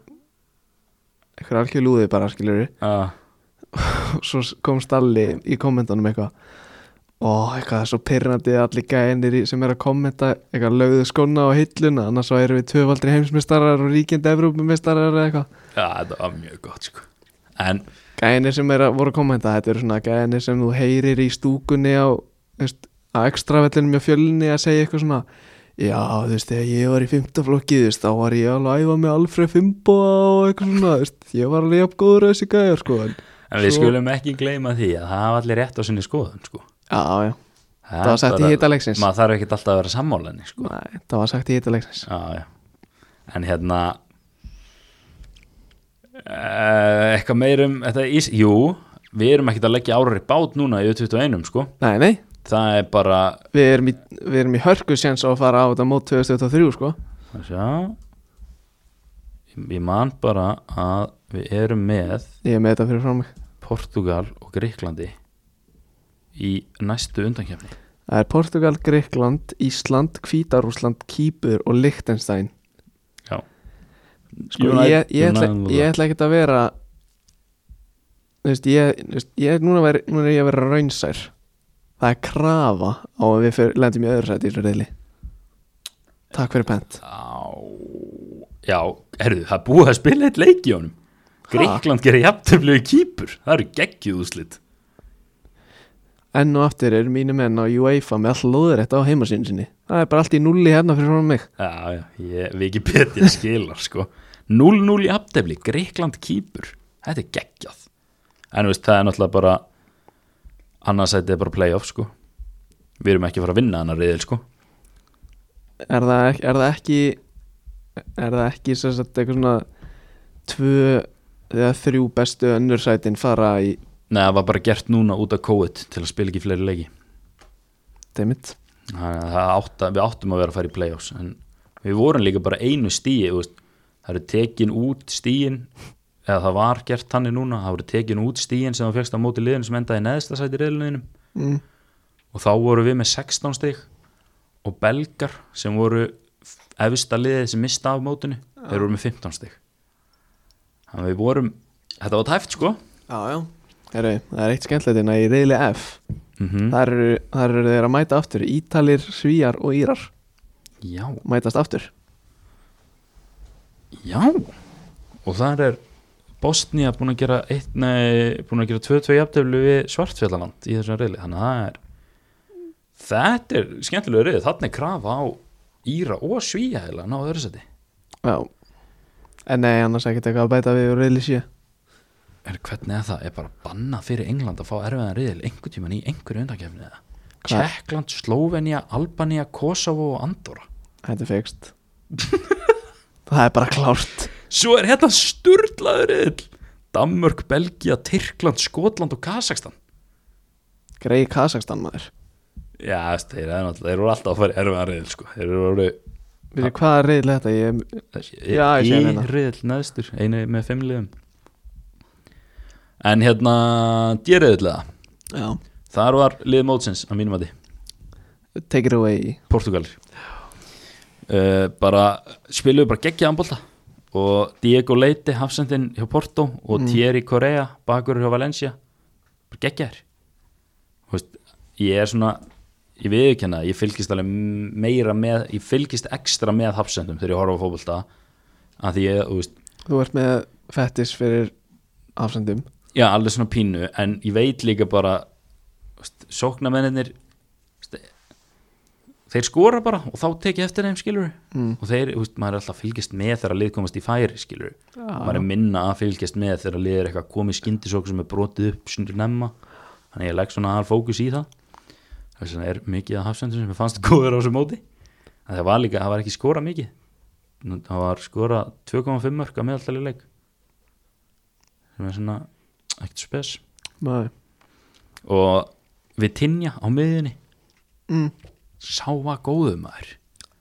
[SPEAKER 1] eitthvað algjör lúði bara skiljur
[SPEAKER 2] Ah,
[SPEAKER 1] og svo kom Stalli í kommentunum eitthvað og eitthvað það er svo pyrrandi allir gæðinir sem er að kommenta eitthvað lögðu skona á hilluna annars svo erum við tvöfaldri heimsmeistarar og ríkjandi evrópumeistarar eða eitthvað
[SPEAKER 2] já, þetta var mjög gott sko. en
[SPEAKER 1] gæðinir sem er að voru að kommenta þetta eru svona gæðinir sem þú heyrir í stúkunni á, þú veist, á extravellinum hjá fjölinni að segja eitthvað svona já þú veist þegar ég var í fymtaflokki þú veist þá var ég alveg að æfa með Alfred Fimboa og eitthvað svona þú veist, ég var alveg jafn góður og þessi gæðar sko en,
[SPEAKER 2] En við
[SPEAKER 1] Svo-
[SPEAKER 2] skulum ekki gleyma því að það hafa allir rétt á sinni skoðun sko.
[SPEAKER 1] já já Það var sagt í
[SPEAKER 2] bara-
[SPEAKER 1] hita leiksins.
[SPEAKER 2] Maður þarf ekki alltaf að vera sammálaðinni sko.
[SPEAKER 1] Nei, það var sagt í þetta leiksins
[SPEAKER 2] já, já. En hérna eh, Eitthvað meirum þetta ís, Jú, við erum ekkert að leggja árar í bát núna í U21 sko.
[SPEAKER 1] Nei, nei,
[SPEAKER 2] Það er bara
[SPEAKER 1] við erum í, við erum í hörku séns á að fara á þetta mót 2023 sko
[SPEAKER 2] að sjá, Ég- Ég man bara að við erum með
[SPEAKER 1] Ég er með þetta fyrir frá mig
[SPEAKER 2] Portugal og Gríklandi í næstu undankefni
[SPEAKER 1] Það er Portugal, Greikland, Ísland, Hvítarúsland, Kýpur og Liechtenstein
[SPEAKER 2] Já
[SPEAKER 1] Sko ég, ég, ætla, ég ætla ekkert að vera Þú veist, ég, þú veist, ég núna, veri, núna er ég að vera raunsær Það er krafa á að við fyr, lendum í öðru sæti í þessu reyli Takk fyrir pent
[SPEAKER 2] Á, já, herðu, það er búið að spila eitt leik í honum Greikland gerir jafntöflegu kýpur Það eru geggjuð úslit
[SPEAKER 1] Enn og aftur eru mínu menn á UEFA með all lóður þetta á heimasínu sinni Það er bara allt í nulli hérna fyrir frá mig
[SPEAKER 2] Já, já, ég, Wikipedia skilar sko 0-0 í jafntöfli, Greikland kýpur Þetta er geggjað En þú veist, það er náttúrulega bara annars þetta er bara playoff sko Við erum ekki að fara að vinna annar reyðil sko
[SPEAKER 1] er það, ekki- er það ekki er það ekki sem sagt eitthvað svona tvö eða þrjú bestu önnur sætin fara í
[SPEAKER 2] Nei, það var bara gert núna út af COVID til að spila ekki fleiri leiki
[SPEAKER 1] demitt
[SPEAKER 2] Þannig að það átta, við áttum að vera að fara í play-offs en við vorum líka bara einu stíi þú veist, það eru tekin út stíin eða það var gert þannig núna það voru tekin út stíin sem það fegst á móti liðinu sem endaði í neðsta sæti reyðluninum
[SPEAKER 1] mm.
[SPEAKER 2] og þá voru við með 16 stík og belgar sem voru efsta liðið sem mista af mótinu þeir voru með 15 stík þannig að við vorum þetta var tæft sko
[SPEAKER 1] já, já. Heru, það er eitt skemmtilegt hérna í reyli F
[SPEAKER 2] mm
[SPEAKER 1] þar eru, þar eru þeir að mæta aftur Ítalir, Svíjar og Írar
[SPEAKER 2] já,
[SPEAKER 1] mætast aftur
[SPEAKER 2] já og þar er Bosnia búin að gera eitt, nei, búin að gera 2-2 jafnteflu við Svartfjallaland í þessum reyli þannig að það er þetta er skemmtilega reyli, þarna er krafa á Íra og Svíja heila að ná öðru seti
[SPEAKER 1] já. en nei, annars ekkert eitthvað að bæta við úr reyli 7
[SPEAKER 2] er hvernig er það, er bara bannað fyrir England að fá erfiðan reyli einhver tíman í einhverju undakefni eða
[SPEAKER 1] Hvað?
[SPEAKER 2] Tjekkland, Slóvenja, Albania, Kosovo og Andorra
[SPEAKER 1] þetta er fegst [LAUGHS] það er bara klárt
[SPEAKER 2] svo er hérna sturlaður reyli Danmörk, Belgia, Tyrkland, Skotland og Kazakstan
[SPEAKER 1] greið Kazakstan maður
[SPEAKER 2] Já, veist, þeir, eru náttúrulega- þeir eru alltaf að fara í erfiðan riðil sko. Þeir eru orðið
[SPEAKER 1] Veitir, hvað er reyli þetta? Ég, Já, ég sé
[SPEAKER 2] í
[SPEAKER 1] hérna.
[SPEAKER 2] riðil neðstur, einu með fimm liðum En hérna dýrriðilega,
[SPEAKER 1] já.
[SPEAKER 2] þar var lið mótsins að mínum að því,
[SPEAKER 1] take it away
[SPEAKER 2] Portugalir uh, bara spiluðu bara geggja anbólta og Diego Leite, hafsendin hjá Porto og Thierry Correa, bakurur hjá Valencia bara geggjaðir Þú veist, ég er svona ég viðurkenna, ég fylgist alveg meira með, ég fylgist ekstra með hafsendum þegar ég horfa á fótbolta að því ég, þú veist,
[SPEAKER 1] Þú ert með fettis fyrir afsendum
[SPEAKER 2] já, alveg svona pínu en ég veit líka bara þú veist, sóknarmennir þú veist, þeir skora bara og þá tek ég eftir þeim skilur
[SPEAKER 1] Mm.
[SPEAKER 2] og þeir, þú veist, maður er alltaf að fylgjast með þegar að lið komast í færi skilur maður er minna að fylgjast með þegar að lið er eitthvað komið skyndisók sem er brotið upp síndur nefna þannig ég legg svona aðal fókus í það þess vegna er mikið að hafsendur sem ég fannst [LAUGHS] góður á þessu móti en það var líka, það var ekki skora mikið Nú, það var skora 2,5 mörg að meðalltali leik sem er svona ekkert spes
[SPEAKER 1] Maður
[SPEAKER 2] og við tinja á miðinni
[SPEAKER 1] mm.
[SPEAKER 2] sá að góðu maður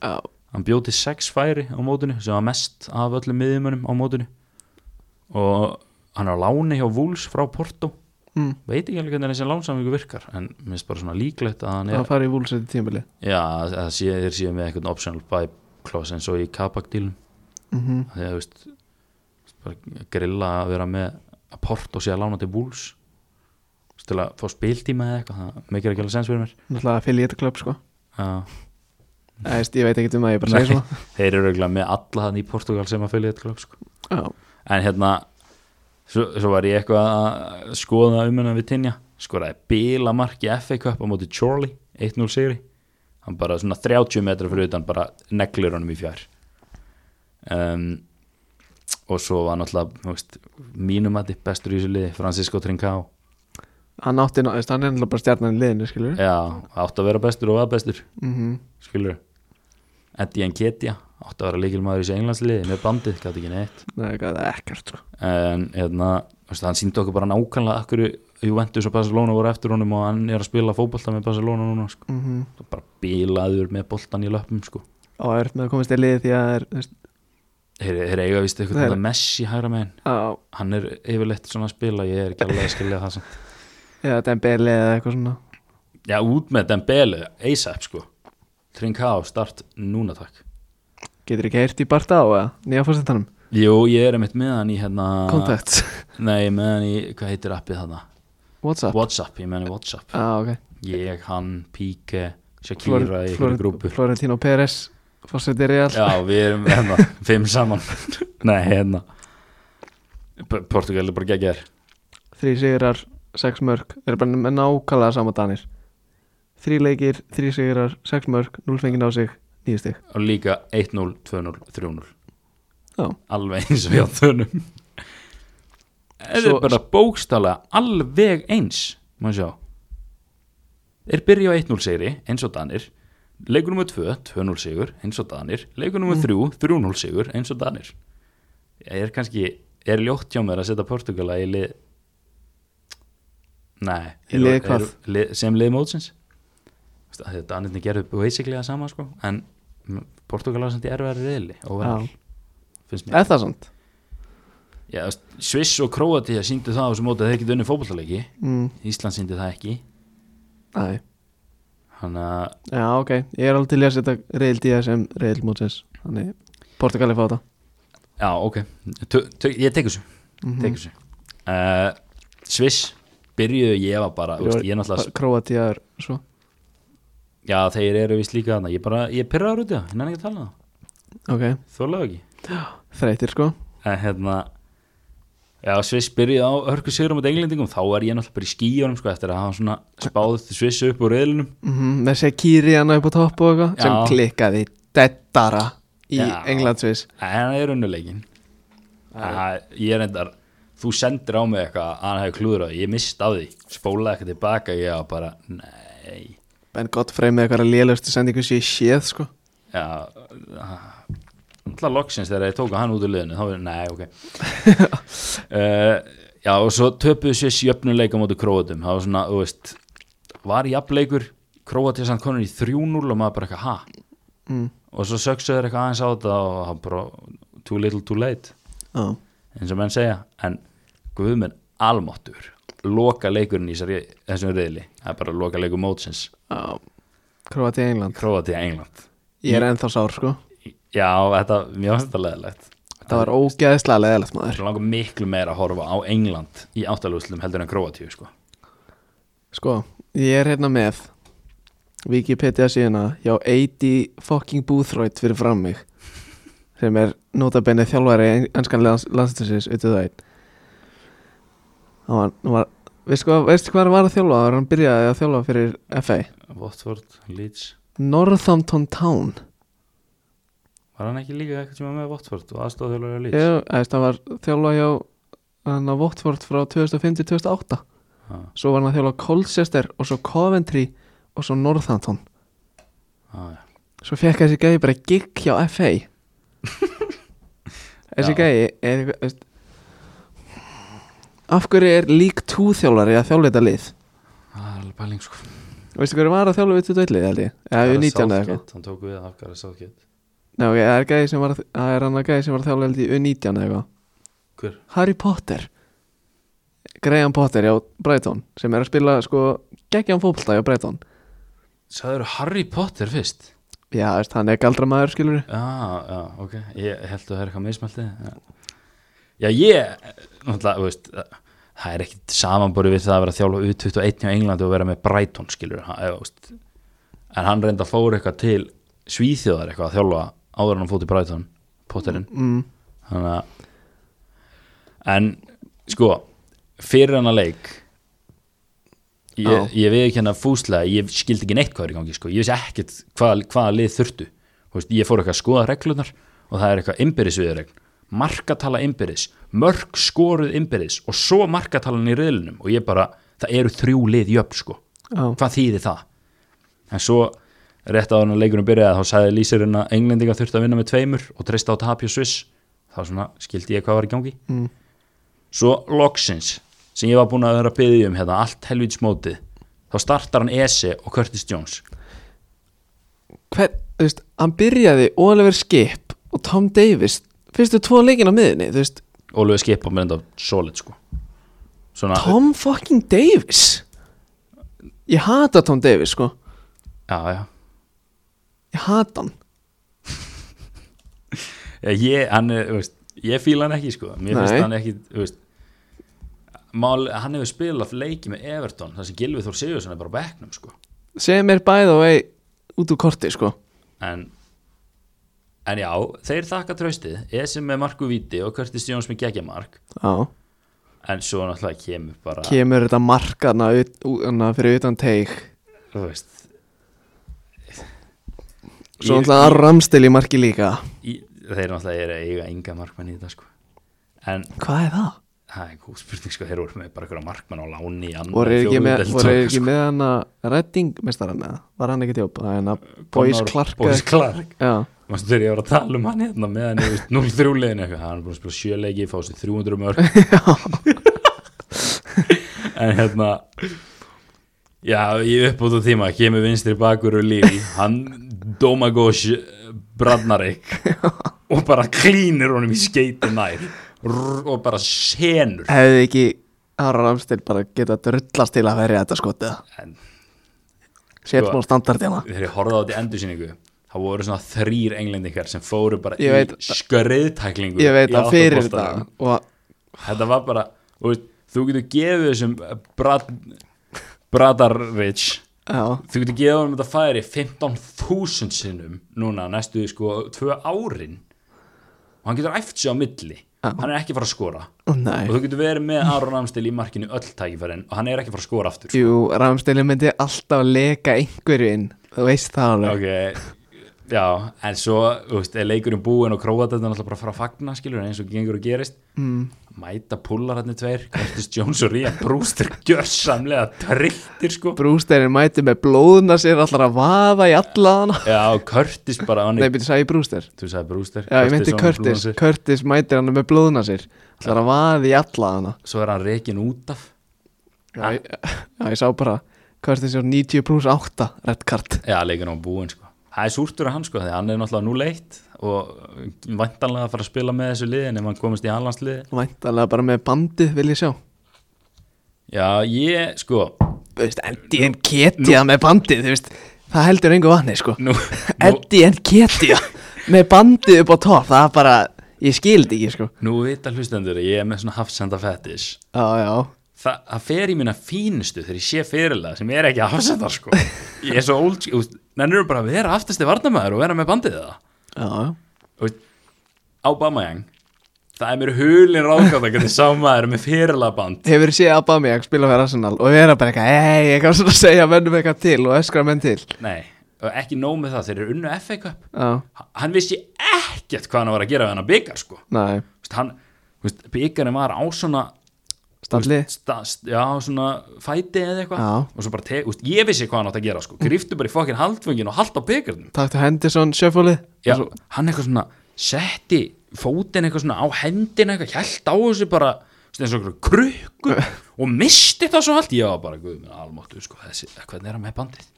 [SPEAKER 1] Já,
[SPEAKER 2] hann bjóti sex færi á mótunni sem var mest af öllum miðjumönum á mótunni og hann er á láni hjá Wolves frá Porto
[SPEAKER 1] mm.
[SPEAKER 2] veit ekki alveg hvernig þessi lánsamvíku virkar en minnst bara svona líklegt að hann er
[SPEAKER 1] að fara í vúlsætti tímabili
[SPEAKER 2] já, að það sé, þeir séu með eitthvað optional buy clause eins og í kapakdílum
[SPEAKER 1] mm
[SPEAKER 2] því að þú veist bara grilla að vera með að Porto sé að lána til Wolves þú veist, til að fá spiltíma eða eitthvað það mikið ekki alveg sens fyrir mér
[SPEAKER 1] náttúrulega affiliate club sko
[SPEAKER 2] Já.
[SPEAKER 1] Æ, veist, ég veit ekki um það, ég bara segi
[SPEAKER 2] Mhm. Nei.
[SPEAKER 1] svona
[SPEAKER 2] þeir eru eiginlega með alla þannig í Portugal sem að fylgja þetta klub sko.
[SPEAKER 1] já,
[SPEAKER 2] en hérna svo, svo var ég eitthvað að skoða um hennar við Tinja skoraði bílamarki FA Cup á móti Chorley 1-0 sigri hann bara svona 30 metra fyrir utan bara neglir honum í fjær um, og svo var náttúrulega þú veist, mínum að þið bestur í þessu liði Francisco Trincao
[SPEAKER 1] hann átti, ná- þú veist, hann er náttúrulega bara stjarnan í liðinu skilur
[SPEAKER 2] já, átt að vera bestur og að bestur
[SPEAKER 1] mm
[SPEAKER 2] skilur Eddie Nketia átt að vera líkilmaður í þessu englandsliði með bandið, gæti ekki neitt
[SPEAKER 1] Nei, eitthvað, ekkert sko
[SPEAKER 2] en hérna, veistu, hann síndi okkur bara nákvæmlega akkur Juventus og Barcelona voru eftir honum og hann er að spila fótbolta með Barcelona núna sko.
[SPEAKER 1] mm
[SPEAKER 2] Það er bara bílaður með boltan í löpum sko.
[SPEAKER 1] og það er með að komast í liði því að það er, þú veist,
[SPEAKER 2] þeir, þeir eiga vist
[SPEAKER 1] Þeir-
[SPEAKER 2] eitthvað með Messi hægra megin
[SPEAKER 1] á,
[SPEAKER 2] hann er yfirleitt svona að spila ég er ekki alveg að skilja það samt
[SPEAKER 1] eða Dembele eða eitthvað svona
[SPEAKER 2] [LAUGHS] já út með Dembele, ASAP sko Trincao, start núna takk
[SPEAKER 1] getur ekki heyrt í Barta á eða nýja fórsetanum,
[SPEAKER 2] jú ég er einmitt með hann í hérna
[SPEAKER 1] [LAUGHS] contacts
[SPEAKER 2] nei með hann í, hvað heitir appið þarna
[SPEAKER 1] Whatsapp,
[SPEAKER 2] Whatsapp, ég meni Whatsapp
[SPEAKER 1] á, Ah, ok
[SPEAKER 2] ég, hann, Píke,
[SPEAKER 1] Flor-
[SPEAKER 2] Shakira í
[SPEAKER 1] Flor-
[SPEAKER 2] einhverju grúpu
[SPEAKER 1] Florentino Pérez fórseti Real
[SPEAKER 2] Já, við erum hérna, fimm saman [LAUGHS] Nei, hérna P- Portugal er bara geggjær
[SPEAKER 1] þrý sigrar, sex mörg þeir eru bara með nákvæmlega sama danir þrý leikir, þrý sigrar, sex mörg núl fengið á sig, nýju stig
[SPEAKER 2] og líka 1-0, 2-0, 3-0
[SPEAKER 1] Já.
[SPEAKER 2] Alveg eins og hjá þunum Þetta
[SPEAKER 1] Svo-
[SPEAKER 2] er bara bókstala alveg eins Má sjá Þeir byrja á 1-0 sigri, eins og danir Leikur nummer 2, 2-0 sigur, eins og danir Leikur
[SPEAKER 1] Mm.
[SPEAKER 2] nummer 3, 3-0 sigur, eins og danir Ég er kannski, er ljótt hjá mér að setja Portugala í lið Nei
[SPEAKER 1] Í
[SPEAKER 2] eru-
[SPEAKER 1] lið hvað?
[SPEAKER 2] eru- lið- Sem lið mótsins Þú veist, af því að Danirni gerðu basically það sama sko, en Portugal á samt í erfæri reyðli
[SPEAKER 1] Já.
[SPEAKER 2] finnst mér
[SPEAKER 1] eða það sant
[SPEAKER 2] Já, þú veist, Sviss og Króatia síndu það á þessu móti að þeir geta unni fótballaleiki
[SPEAKER 1] mm,
[SPEAKER 2] Ísland síndi það ekki
[SPEAKER 1] nei.
[SPEAKER 2] hann að,
[SPEAKER 1] já ok, ég er alveg til í að setja Real Díaz sem Real Mótsins þannig Portugali fá þetta
[SPEAKER 2] já ok tö, tö, ég tek þessu,
[SPEAKER 1] Mhm.
[SPEAKER 2] tek þessu. Uh, Sviss byrjuðu ég var bara, þú veist, ég náttúrulega
[SPEAKER 1] Kroatia er sko. svo
[SPEAKER 2] já þeir eru vist líka þarna, ég bara, ég pyrraður út í það, hennan ekki að tala um það
[SPEAKER 1] ok,
[SPEAKER 2] þólaðu ekki
[SPEAKER 1] þreytir sko
[SPEAKER 2] en hérna já, Sviss byrjaði á hörku sigurum á englendingum, þá er ég náttúrulega bara í skíjónum sko, eftir að hafa svona spáð Sviss upp úr reyðlunum
[SPEAKER 1] mm -hmm, með Sekiri hann upp á topp og eitthvað sem
[SPEAKER 2] Já.
[SPEAKER 1] klikkaði dettara í
[SPEAKER 2] Já.
[SPEAKER 1] Englandsvis
[SPEAKER 2] en það er unnuleikin ég er endar þú sendir á mig eitthvað að hann hefði klúðrað ég misti af því, spólaði eitthvað tilbaka ég var bara, nei
[SPEAKER 1] Ben Godfrey með eitthvað lélustu sendingu sér séð sko
[SPEAKER 2] já alltaf loksins þegar ég tóka hann út í liðinu þá verður, nei, ok uh, já, og svo töpuðu sér sjöfnuleika móti króatum, það var svona, þú veist var jafnleikur króatið samt konur í 3-0 og maður bara eitthvað, ha
[SPEAKER 1] mm.
[SPEAKER 2] og svo söksuður eitthvað aðeins á þetta og það bara, too little too late
[SPEAKER 1] ah.
[SPEAKER 2] eins og menn segja, en guðminn almáttur, loka leikurinn í þessari- þessum reyðli, það er bara loka leikur mótsins,
[SPEAKER 1] Já, Kroati England
[SPEAKER 2] króatið England
[SPEAKER 1] Ég er ennþá sár sko
[SPEAKER 2] já, þetta, mér finnst þetta leðilegt
[SPEAKER 1] Það var ógeðslega leðilegt maður
[SPEAKER 2] Mér langar miklu meira að horfa á England í áttalúslum heldur en Kroatíu sko.
[SPEAKER 1] Sko, ég er hérna með Wikipedia síðuna hjá 80 fucking Boothroyd fyrir fram mig sem er notabene þjálfari ennskan landstinsins auðvitað það einn Hann var, hann var veistu, hvað, veistu hvað hann var að þjálfa þegar hann byrjaði að þjálfa fyrir FA
[SPEAKER 2] Watford, Leeds
[SPEAKER 1] Northampton Town
[SPEAKER 2] Var hann ekki líka eitthvað sem var með Watford og aðstofþjóðlega Leeds?
[SPEAKER 1] Ég, æst, hann var þjálfa hjá hann að Votford frá 2005-2008
[SPEAKER 2] Ha,
[SPEAKER 1] svo var hann að þjálfa Colchester og svo Coventry og svo Northampton
[SPEAKER 2] ha, já.
[SPEAKER 1] svo fekk þessi gæði bara gig hjá FA þessi
[SPEAKER 2] Já.
[SPEAKER 1] gæði er eitthvað veist, af hverju er lík túþjálari að þjálfa þetta lið
[SPEAKER 2] Það er alveg pæling sko
[SPEAKER 1] veistu hverju var að þjálfa við 21 lið held ég eða við 19 eða eitthvað
[SPEAKER 2] Hann tók við af Gareth Southgate
[SPEAKER 1] Nei, ok, það er, gæði sem var, að- það er hann að gæði sem var að þjálfa held ég U19 eða eitthvað
[SPEAKER 2] Hver?
[SPEAKER 1] Harry Potter Graham Potter hjá Brighton sem er að spila sko geggjum fótbolta hjá Brighton
[SPEAKER 2] Sæður Harry Potter fyrst
[SPEAKER 1] já, þú veist, hann er galdramæður skilur
[SPEAKER 2] Já, já, ok, ég held að það er eitthvað meðsmælti Já, ég náttúrulega, þú veist það er ekkit samanborið við það að vera að þjálfa U21 á Englandi og vera með Brighton skilur hann, eða, þú veist. en hann reynda fór eitthvað til Svíþjóðar eitthvað að þjálfa áður en hann fótt í Brighton Potterinn
[SPEAKER 1] mm,
[SPEAKER 2] þannig að en sko fyrir hann að leik
[SPEAKER 1] Já.
[SPEAKER 2] ég, ég veið ekki hérna fúslega ég skildi ekki neitt hvað er í gangi sko. ég vissi ekkert hvað, hvaða lið þurftu Þú veist, ég fór eitthvað að skoða reglunar og það er eitthvað ymbirisviðregn markatala ymbiris, mörg skoruð ymbiris og svo markatalan í riðlunum og ég bara, það eru þrjú lið jöfn sko,
[SPEAKER 1] já,
[SPEAKER 2] hvað þýðir það en svo rétt áður en að leikunum byrjaði þá sagði lýsirinn að englendinga þurfti að vinna með tveimur og treysta á tapja sviss þá svona skildi ég hvað var í gangi
[SPEAKER 1] Mm.
[SPEAKER 2] svo loksins sem ég var búin að vera að byggja um hérna allt helvíts mótið þá startar hann Ese og Curtis Jones
[SPEAKER 1] hvern, þú veist, hann byrjaði Oliver Skip og Tom Davis fyrstu tvo leikin á miðinni, þú veist
[SPEAKER 2] Ólega skipa með enda solid sko svona,
[SPEAKER 1] Tom fucking Davis ég hata Tom Davis sko
[SPEAKER 2] já, já.
[SPEAKER 1] ég hata hann
[SPEAKER 2] Ég, hann, er, þú veist, ég fíla hann ekki sko mér
[SPEAKER 1] Nei.
[SPEAKER 2] finnst hann ekki þú veist, mál, hann hefur spilað leiki með Everton þar sem Gilvi Þór Sigurðsson er bara á bekknum sko
[SPEAKER 1] sem er by the way út úr korti sko
[SPEAKER 2] en en já, þeir þakka tröstið Esi með Marku Víti og Curtis Jones með geggjamark
[SPEAKER 1] já,
[SPEAKER 2] en svo náttúrulega kemur bara
[SPEAKER 1] kemur þetta markana ut, ú- hana fyrir utan teik
[SPEAKER 2] þú veist
[SPEAKER 1] svo
[SPEAKER 2] Ég-
[SPEAKER 1] náttúrulega að ramstil í marki líka
[SPEAKER 2] í, þeir náttúrulega eru að eiga enga markmann í þetta sko en
[SPEAKER 1] hvað er það?
[SPEAKER 2] það er góð spurning sko, þeir voru með bara einhverja markmann á láni í annan
[SPEAKER 1] voru þeir ekki með, voru þeir
[SPEAKER 2] sko.
[SPEAKER 1] ekki með hana redding mestarann eða var hann ekki tjópa það er hana Boys Clark
[SPEAKER 2] sko, Boys
[SPEAKER 1] eða-
[SPEAKER 2] Clark
[SPEAKER 1] já,
[SPEAKER 2] Manstu þegar ég var að tala um hann hérna með hann 0-3 legin eitthvað, hann er búin að spila sjöleiki fá sér 300 mörg en hérna já, ég uppbútt á tíma kemur vinstri bakur og lífi hann Domagos Brannarek og bara klínir honum í skeiti nær Rrr, og bara senur
[SPEAKER 1] hefði ekki Aron Ramstil bara geta drullast til að verja þetta skotið
[SPEAKER 2] en
[SPEAKER 1] sér smá
[SPEAKER 2] Sko.
[SPEAKER 1] hérna. standardina
[SPEAKER 2] þegar ég horfði á þetta endursýningu þá voru svona þrýr englendingar sem fóru bara
[SPEAKER 1] Ég veit-
[SPEAKER 2] í skörriðtæklingu
[SPEAKER 1] ég veit
[SPEAKER 2] í
[SPEAKER 1] það fyrir þetta
[SPEAKER 2] áttapostanum.
[SPEAKER 1] og
[SPEAKER 2] þetta var bara þú, veist, þú getur gefið þessum brat, Bradarvich
[SPEAKER 1] já,
[SPEAKER 2] þú getur gefið honum þetta færi 15.000 sinnum núna næstu sko tvö árin og hann getur æft sig á milli
[SPEAKER 1] Já.
[SPEAKER 2] hann er ekki fara að skora
[SPEAKER 1] nei
[SPEAKER 2] og þú getur verið með Aron Amstil í markinu öll tækifærin og hann er ekki fara að skora aftur
[SPEAKER 1] Jú, Ramstil myndi alltaf leka einhverju inn þú veist það alveg
[SPEAKER 2] ok já, en svo þú veist, er leikurinn búinn og króatarnir náttúrulega bara að fara að fagna skilur eins og gengur og gerist mm. mæta pullar hann tveir Curtis Jones og Rían Brúster gjörsamlega trilltir sko
[SPEAKER 1] Brústerinn mæti með blóðna sér allar að vaða í alla hana
[SPEAKER 2] Já, Curtis bara hann
[SPEAKER 1] Nei,
[SPEAKER 2] er,
[SPEAKER 1] byrju, sagði ég Brewster
[SPEAKER 2] þú sagði Brewster
[SPEAKER 1] Já, ég myndi
[SPEAKER 2] á
[SPEAKER 1] Curtis,
[SPEAKER 2] Blúðansi.
[SPEAKER 1] Curtis mætir hann með blóðuna sér Það er að vaði í alla hana
[SPEAKER 2] Svo er hann reikin út af
[SPEAKER 1] Já, ég, já, ég sá bara Curtis er 90 pluss 8 Red card
[SPEAKER 2] Já, leikin á búin sko Það er súrtur að hann sko, því hann er náttúrulega núleitt og vantanlega að fara að spila með þessu liðin ef hann komist í anlandsliði
[SPEAKER 1] Væntalega bara með bandið vil ég sjá
[SPEAKER 2] Já, ég, sko
[SPEAKER 1] Þú veist, Eddie en Ketja með bandið þú veist, Það heldur engu vatni sko
[SPEAKER 2] nú, nú,
[SPEAKER 1] Eddie en Ketja Með bandið upp á topp Það er bara, ég skildi ekki sko
[SPEAKER 2] nú vita hlustendur að ég er með svona hafsenda fetish
[SPEAKER 1] Já, já
[SPEAKER 2] Þa, það fer í minna fínustu þegar ég sé fyrirlega sem er ekki hafsendar sko Ég er svo old, sko, þannig eru bara að vera aftasti varnamæður og vera með bandið
[SPEAKER 1] Já,
[SPEAKER 2] það
[SPEAKER 1] já
[SPEAKER 2] Þú veist, Aubameyang það er mér hulin ráðgátt að hvernig sá maður er með fyrirlaband
[SPEAKER 1] Hefur séð Aubameyang spila fyrir Arsenal og vera bara eitthvað, ei, eitthvað svona að segja mennum eitthvað til og öskra menn til
[SPEAKER 2] nei, og ekki nóg með það þeir eru unnu FA Cup
[SPEAKER 1] Já,
[SPEAKER 2] H- hann vissi ekkert hvað hann var að gera við hann að byggar sko,
[SPEAKER 1] næ,
[SPEAKER 2] Þú veist, hann þú veist, byggarinn var á svona
[SPEAKER 1] stalli
[SPEAKER 2] sta, st- já, svona fæti eða eitthvað
[SPEAKER 1] Já.
[SPEAKER 2] og svo bara, te, úst, ég vissi hvað hann átt að gera sko, griftu bara í fokkin haldfungin og hald á byggarnum
[SPEAKER 1] Taktu Henderson, sjöfúlið
[SPEAKER 2] já, hann eitthvað svona setti fótinn eitthvað svona á hendin eitthvað, held á þessu bara svona eins og einhverju krukku og misti það svo allt, ég var bara guð minn almáttu, sko, þessi, hvernig er hann með bandið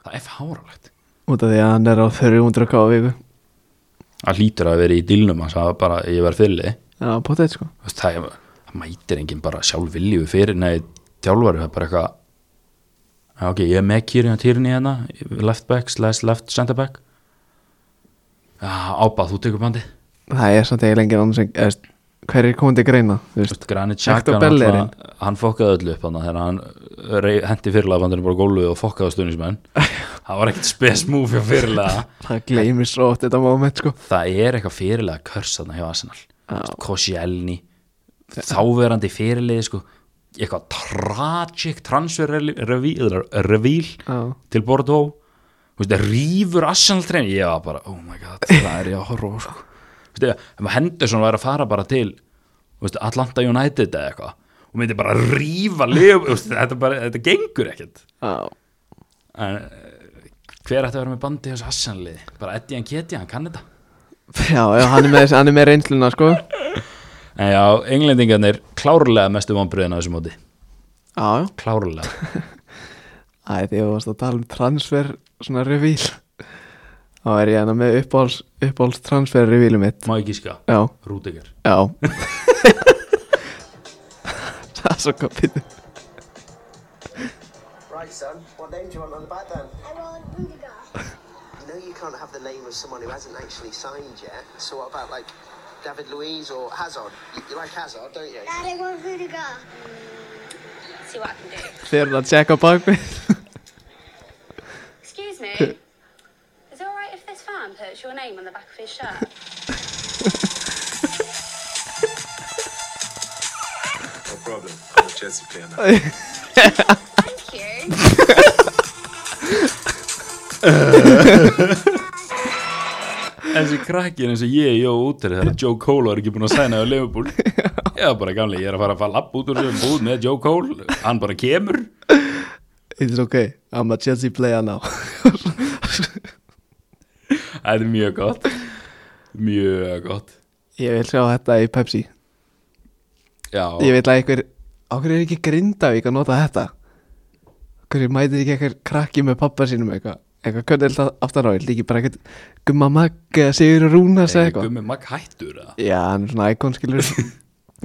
[SPEAKER 2] það er fáralegt
[SPEAKER 1] Út af því að hann er á 300 káa viku
[SPEAKER 2] hann lítur að vera í dilnum hans, það var bara, ég var fylli
[SPEAKER 1] Já, potið sko
[SPEAKER 2] Þú veist, það er, það mætir enginn bara sjálf vilju fyrir neði þjálfari, það er bara eitthvað "Já, ok, ég er með kýrin og týrin í hérna left back slash left center back ábað, þú tekur bandið
[SPEAKER 1] það er samt eiginlega engin annars en- eða, veist, hver er komandi greina þú veist,
[SPEAKER 2] Granit
[SPEAKER 1] Hector
[SPEAKER 2] Xhaka
[SPEAKER 1] Bell er
[SPEAKER 2] náttúrulega, hann fokkaði öllu upp hann þegar hann rey- henti fyrirlagabandinu bara á gólfið og fokkaði á stuðnismenn það var ekkert spes move hjá fyrirlaga
[SPEAKER 1] það gleymir svo oft þetta moment sko
[SPEAKER 2] það er eitthvað fyrirlega körs þarna hjá Arsenal
[SPEAKER 1] Já.
[SPEAKER 2] Koscielny þáverandi fyrirliði sko eitthvað tragic transfer revíl
[SPEAKER 1] Já.
[SPEAKER 2] til Bordeaux Þú veist, rýfur Arsenal treyni ég var bara, oh my god, það er ég að horfa á, sko. Þú veist, ef Henderson væri að fara bara til þú veist, Atlanta United eða eitthvað og myndi bara rýfa lið, þú veist, þetta, bara, þetta gengur ekkert
[SPEAKER 1] Já.
[SPEAKER 2] en eh, hver ætti að vera með bandi þessu Arsenal liði, bara Eddie Nketi, hann kann þetta
[SPEAKER 1] já, já, hann er með, þessi- hann er með reynsluna sko
[SPEAKER 2] En já, englendingarnir klárlega mestu vonbröðin á þessu móti
[SPEAKER 1] já, já
[SPEAKER 2] Klárlega
[SPEAKER 1] Æ, því að þú varst að tala um transfer svona revíl þá er ég hana með uppáhalds, uppáhalds transfer revílu mitt
[SPEAKER 2] Má ekki ská
[SPEAKER 1] Já,
[SPEAKER 2] Rúdiger
[SPEAKER 1] já [LAUGHS] Það er svo kapið
[SPEAKER 3] Right, son. What name do you want on the back then?
[SPEAKER 4] I want Rudiger.
[SPEAKER 3] No, you can't have the name of someone who hasn't actually signed yet. So what about like David Luiz or Hazard? You, you like Hazard, don't you?
[SPEAKER 4] Dad, I want Rudiger. See what I can do.
[SPEAKER 1] Þegar það tjekka bakmið
[SPEAKER 4] Excuse me. Is it alright if this fan puts your name on the back of his shirt?
[SPEAKER 5] No problem. I'm a Chelsea player now.
[SPEAKER 4] Thank you.
[SPEAKER 2] Þessi krakkin eins og ég jó út til þegar Joe Cole var ekki búin að sæna á Liverpool
[SPEAKER 1] [LAUGHS]
[SPEAKER 2] Já, bara gamli, ég er að fara að fara lapp út úr þessu búð með Joe Cole Hann bara kemur
[SPEAKER 1] It's ok, I'm a Chelsea player now
[SPEAKER 2] Það er mjög gott Mjög gott
[SPEAKER 1] [LAUGHS] Ég vil sjá þetta í Pepsi
[SPEAKER 2] Já,
[SPEAKER 1] Ég vil að einhver, á hverju er ekki Grindavík að nota þetta? Á Hverju mætir ekki einhver krakki með pappa sínum eitthvað? Eitthvað, hvernig er þetta aftan á? Ég líki bara eitthvað Gumma Magg eða Sigur Rúnas eða
[SPEAKER 2] er
[SPEAKER 1] eitthvað
[SPEAKER 2] gummi magg hættur eða?
[SPEAKER 1] Já, hann er svona íkon skilur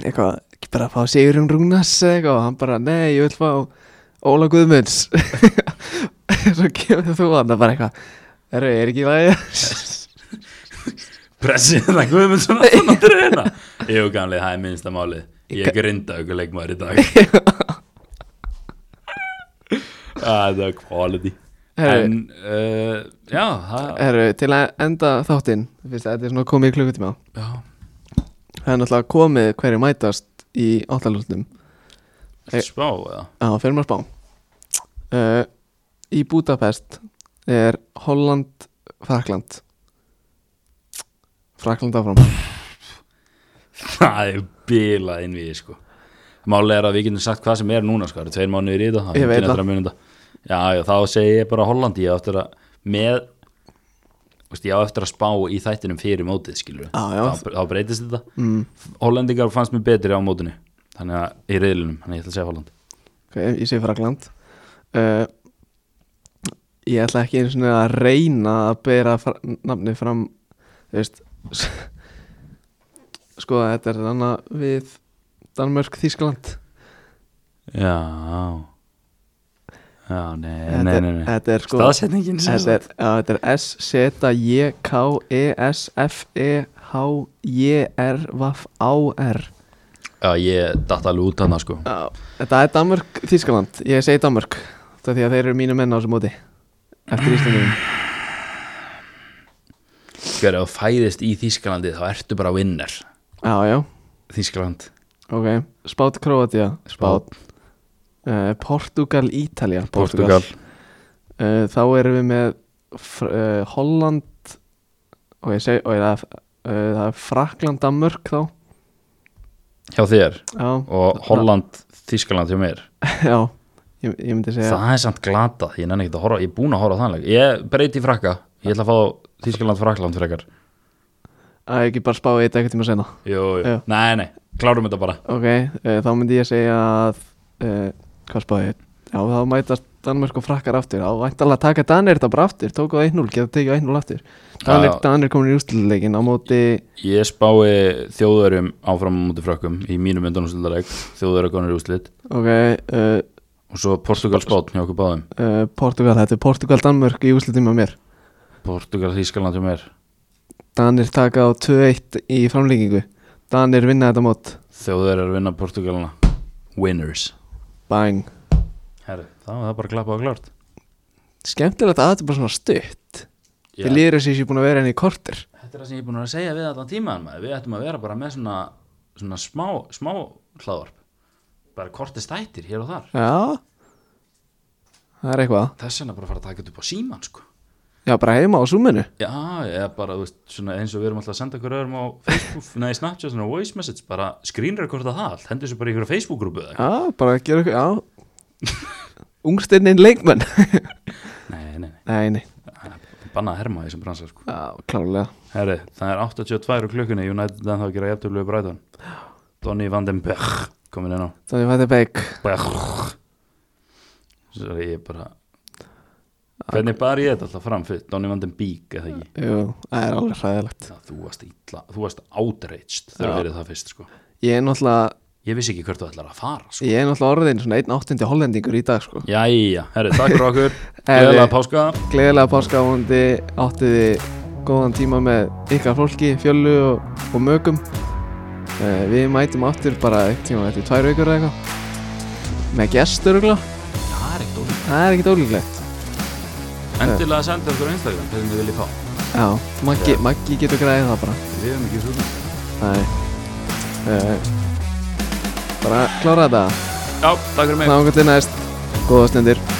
[SPEAKER 1] eitthvað, ekki bara að fá Sigurum Rúnas eða eitthvað og hann bara, nei, ég vil fá Óla Guðmunds [LAUGHS] svo kemur þú hann það bara eitthvað Erfi, er ekki í lagi [LAUGHS]
[SPEAKER 2] Pressið það Guðmundsson að þannig að reyna Jú, gamli, það er minnsta málið Ég
[SPEAKER 1] Ég-
[SPEAKER 2] grinda ykkur leikmaður í dag Það er quality
[SPEAKER 1] Herru.
[SPEAKER 2] En, uh, já, það
[SPEAKER 1] Erfi, til að enda þáttinn fyrst að þetta er svona komið í klukkutíma
[SPEAKER 2] já,
[SPEAKER 1] það er náttúrulega komið hverju mætast í áttalústum
[SPEAKER 2] ertu að spá eða
[SPEAKER 1] á fyrir maður spá uh, í Budapest er Holland Frakland Frakland áfram
[SPEAKER 2] Það er bilað inn við, sko Máli er að við getum sagt hvað sem er núna, sko Það eru tveir mánuðir í þetta, það
[SPEAKER 1] Ég
[SPEAKER 2] er
[SPEAKER 1] veit
[SPEAKER 2] enginn
[SPEAKER 1] það.
[SPEAKER 2] eftir að muni þetta Já, já, þá segi ég bara Hollandi Ég á eftir að með þú veist, Ég á eftir að spá í þættinum fyrir mótið, skilur
[SPEAKER 1] Já, já.
[SPEAKER 2] Þá, þá breytist þetta mm. Hollendingar fannst mér betri á mótinu Þannig að í reyðlunum, þannig að ég ætla að segja Holland
[SPEAKER 1] Ok, ég segi Frakland uh, Ég ætla ekki einu svona að reyna að bera fra nafni fram Þú veist [LAUGHS] s- Sko þetta er þannig að við Danmörk, Þískland
[SPEAKER 2] Já Já, nei,
[SPEAKER 1] Þetta
[SPEAKER 2] nei,
[SPEAKER 1] er-
[SPEAKER 2] nei, nei.
[SPEAKER 1] þetta er sko-
[SPEAKER 2] Staðsetningin sem
[SPEAKER 1] Þetta er, á, þetta er S, Z, J, K, E, S, F, E, H, J, R, V, A, R
[SPEAKER 2] Já, ég datt alveg út hana, sko
[SPEAKER 1] Já, Þetta er Danmörk, Þískland Ég segi Danmörk Það er því að þeir eru mínu menn á þessu móti Eftir
[SPEAKER 2] [GASPS]
[SPEAKER 1] Íslandum
[SPEAKER 2] Hver ef þú fæðist í Þýskalandi þá ertu bara vinnar
[SPEAKER 1] Já, já,
[SPEAKER 2] Þýskaland
[SPEAKER 1] ok Spát, Kroatia
[SPEAKER 2] Spánn.
[SPEAKER 1] Uh, Portugal, Ítalja Uh, Þá erum við með fr- uh, Holland og ég segi, og ég, það, uh, það er Frakland, Danmörk þá
[SPEAKER 2] hjá þér
[SPEAKER 1] Já,
[SPEAKER 2] og Holland, Þýskaland hjá mér
[SPEAKER 1] já ég, ég myndi segja
[SPEAKER 2] það er samt glatað, ég nenni ekki að horfa ég er búin að horfa á þannleik, ég breyti í frakka ég ætla að fá Þýskaland, Frakland frekar
[SPEAKER 1] að ég ekki bara spáði þetta eitthvað tíma sena
[SPEAKER 2] jú, jú,
[SPEAKER 1] Já.
[SPEAKER 2] nei, nei, klárum þetta bara
[SPEAKER 1] eh, Ok, uh, þá myndi ég segja að uh, hvað spáði ég? Já, þá mætast Danmark og frakkar aftur á væntalega að taka Danir þetta bara aftur tóku það 1-0, geta tekið 1-0 aftur Danir,
[SPEAKER 2] Já.
[SPEAKER 1] Danir komin í ústilleikin á móti
[SPEAKER 2] Ég spái þjóðverjum áfram á móti frökkum í mínum undanúslitaleg þjóðverja konur í úslit
[SPEAKER 1] ok, uh,
[SPEAKER 2] og svo Portugal spátt hjá okkur báðum
[SPEAKER 1] uh, Portugal, þetta er Portugal-Danmark í úslitin með mér
[SPEAKER 2] Portugal Þýskaland hjá mér
[SPEAKER 1] Danir taka á 2-1 í framlengingu Danir vinna þetta mót
[SPEAKER 2] þjóðverjar vinna Portugalana Winners
[SPEAKER 1] bang,
[SPEAKER 2] Herri, það var það bara klappa og klárt
[SPEAKER 1] skemmtilegt að þetta er bara svona stutt þið líður þess að ég sé búin að vera henni í korter
[SPEAKER 2] Þetta er það sem ég er búin að segja við allan tímaðan maður. Við ættum að vera bara með svona, svona smá, smá hlaðvarp. Bara kortist þættir hér og þar.
[SPEAKER 1] já það er eitthvað
[SPEAKER 2] Þess vegna bara að fara að taka þetta upp á síman, sko.
[SPEAKER 1] já, bara heima á súminu
[SPEAKER 2] Já, eða bara, þú veist, svona eins og við erum alltaf að senda hverjum á Facebook, [LAUGHS] neði Snapchat, svona voice message, bara screenrekorda það allt, hendur þessu bara í einhverja Facebook-grúpu eða eitthvað.
[SPEAKER 1] já, bara gera eitthvað, já [LAUGHS] ungstirnin leikmenn
[SPEAKER 2] Nei, nei, nei,
[SPEAKER 1] [LAUGHS] nei, nei,
[SPEAKER 2] bannað að herma í þessum bransa, sko.
[SPEAKER 1] já, klárlega
[SPEAKER 2] Herri, það er 82 úr klukkunni, United en það gera jafntöflögu bræðan. Donny van den Berg, komin inn á.
[SPEAKER 1] þannig að þetta er beik
[SPEAKER 2] Brrr. Svo ég bara Hvernig bar ég þetta alltaf fram fyrir Donny Van Den Beek eða ekki
[SPEAKER 1] jú, það er alveg hræðilegt
[SPEAKER 2] Já, Þú varst illa, þú varst outraged
[SPEAKER 1] Já.
[SPEAKER 2] þegar þú verið það fyrst sko
[SPEAKER 1] ég er náttúrulega,
[SPEAKER 2] Ég vissi ekki hvert þú ætlar að fara sko
[SPEAKER 1] ég er náttúrulega orðin svona 1.8. hollendingur í dag sko
[SPEAKER 2] Jæja, herri, takk fyrir [LAUGHS] okkur
[SPEAKER 1] Herri.
[SPEAKER 2] Gleðilega páska
[SPEAKER 1] gleðilega páskafóndi áttiði góðan tíma með ykkar fólki, fjöllu og, og mögum uh, við mætum aftur bara eitt tíma eftir tvær vikur eða eitthvað með gestur og
[SPEAKER 2] Það er ekkert ólíkt
[SPEAKER 1] það er ekkert ólíklegt
[SPEAKER 2] Endilega senda okkur á Instagram hvernig þið viljið fá
[SPEAKER 1] já, Maggi, Maggi getur græðið það bara
[SPEAKER 2] Við hefum ekki hugmynd
[SPEAKER 1] Nei uh, Eh, bara klára þetta
[SPEAKER 2] Já, takk fyrir mig
[SPEAKER 1] náðum til næst, góða stundir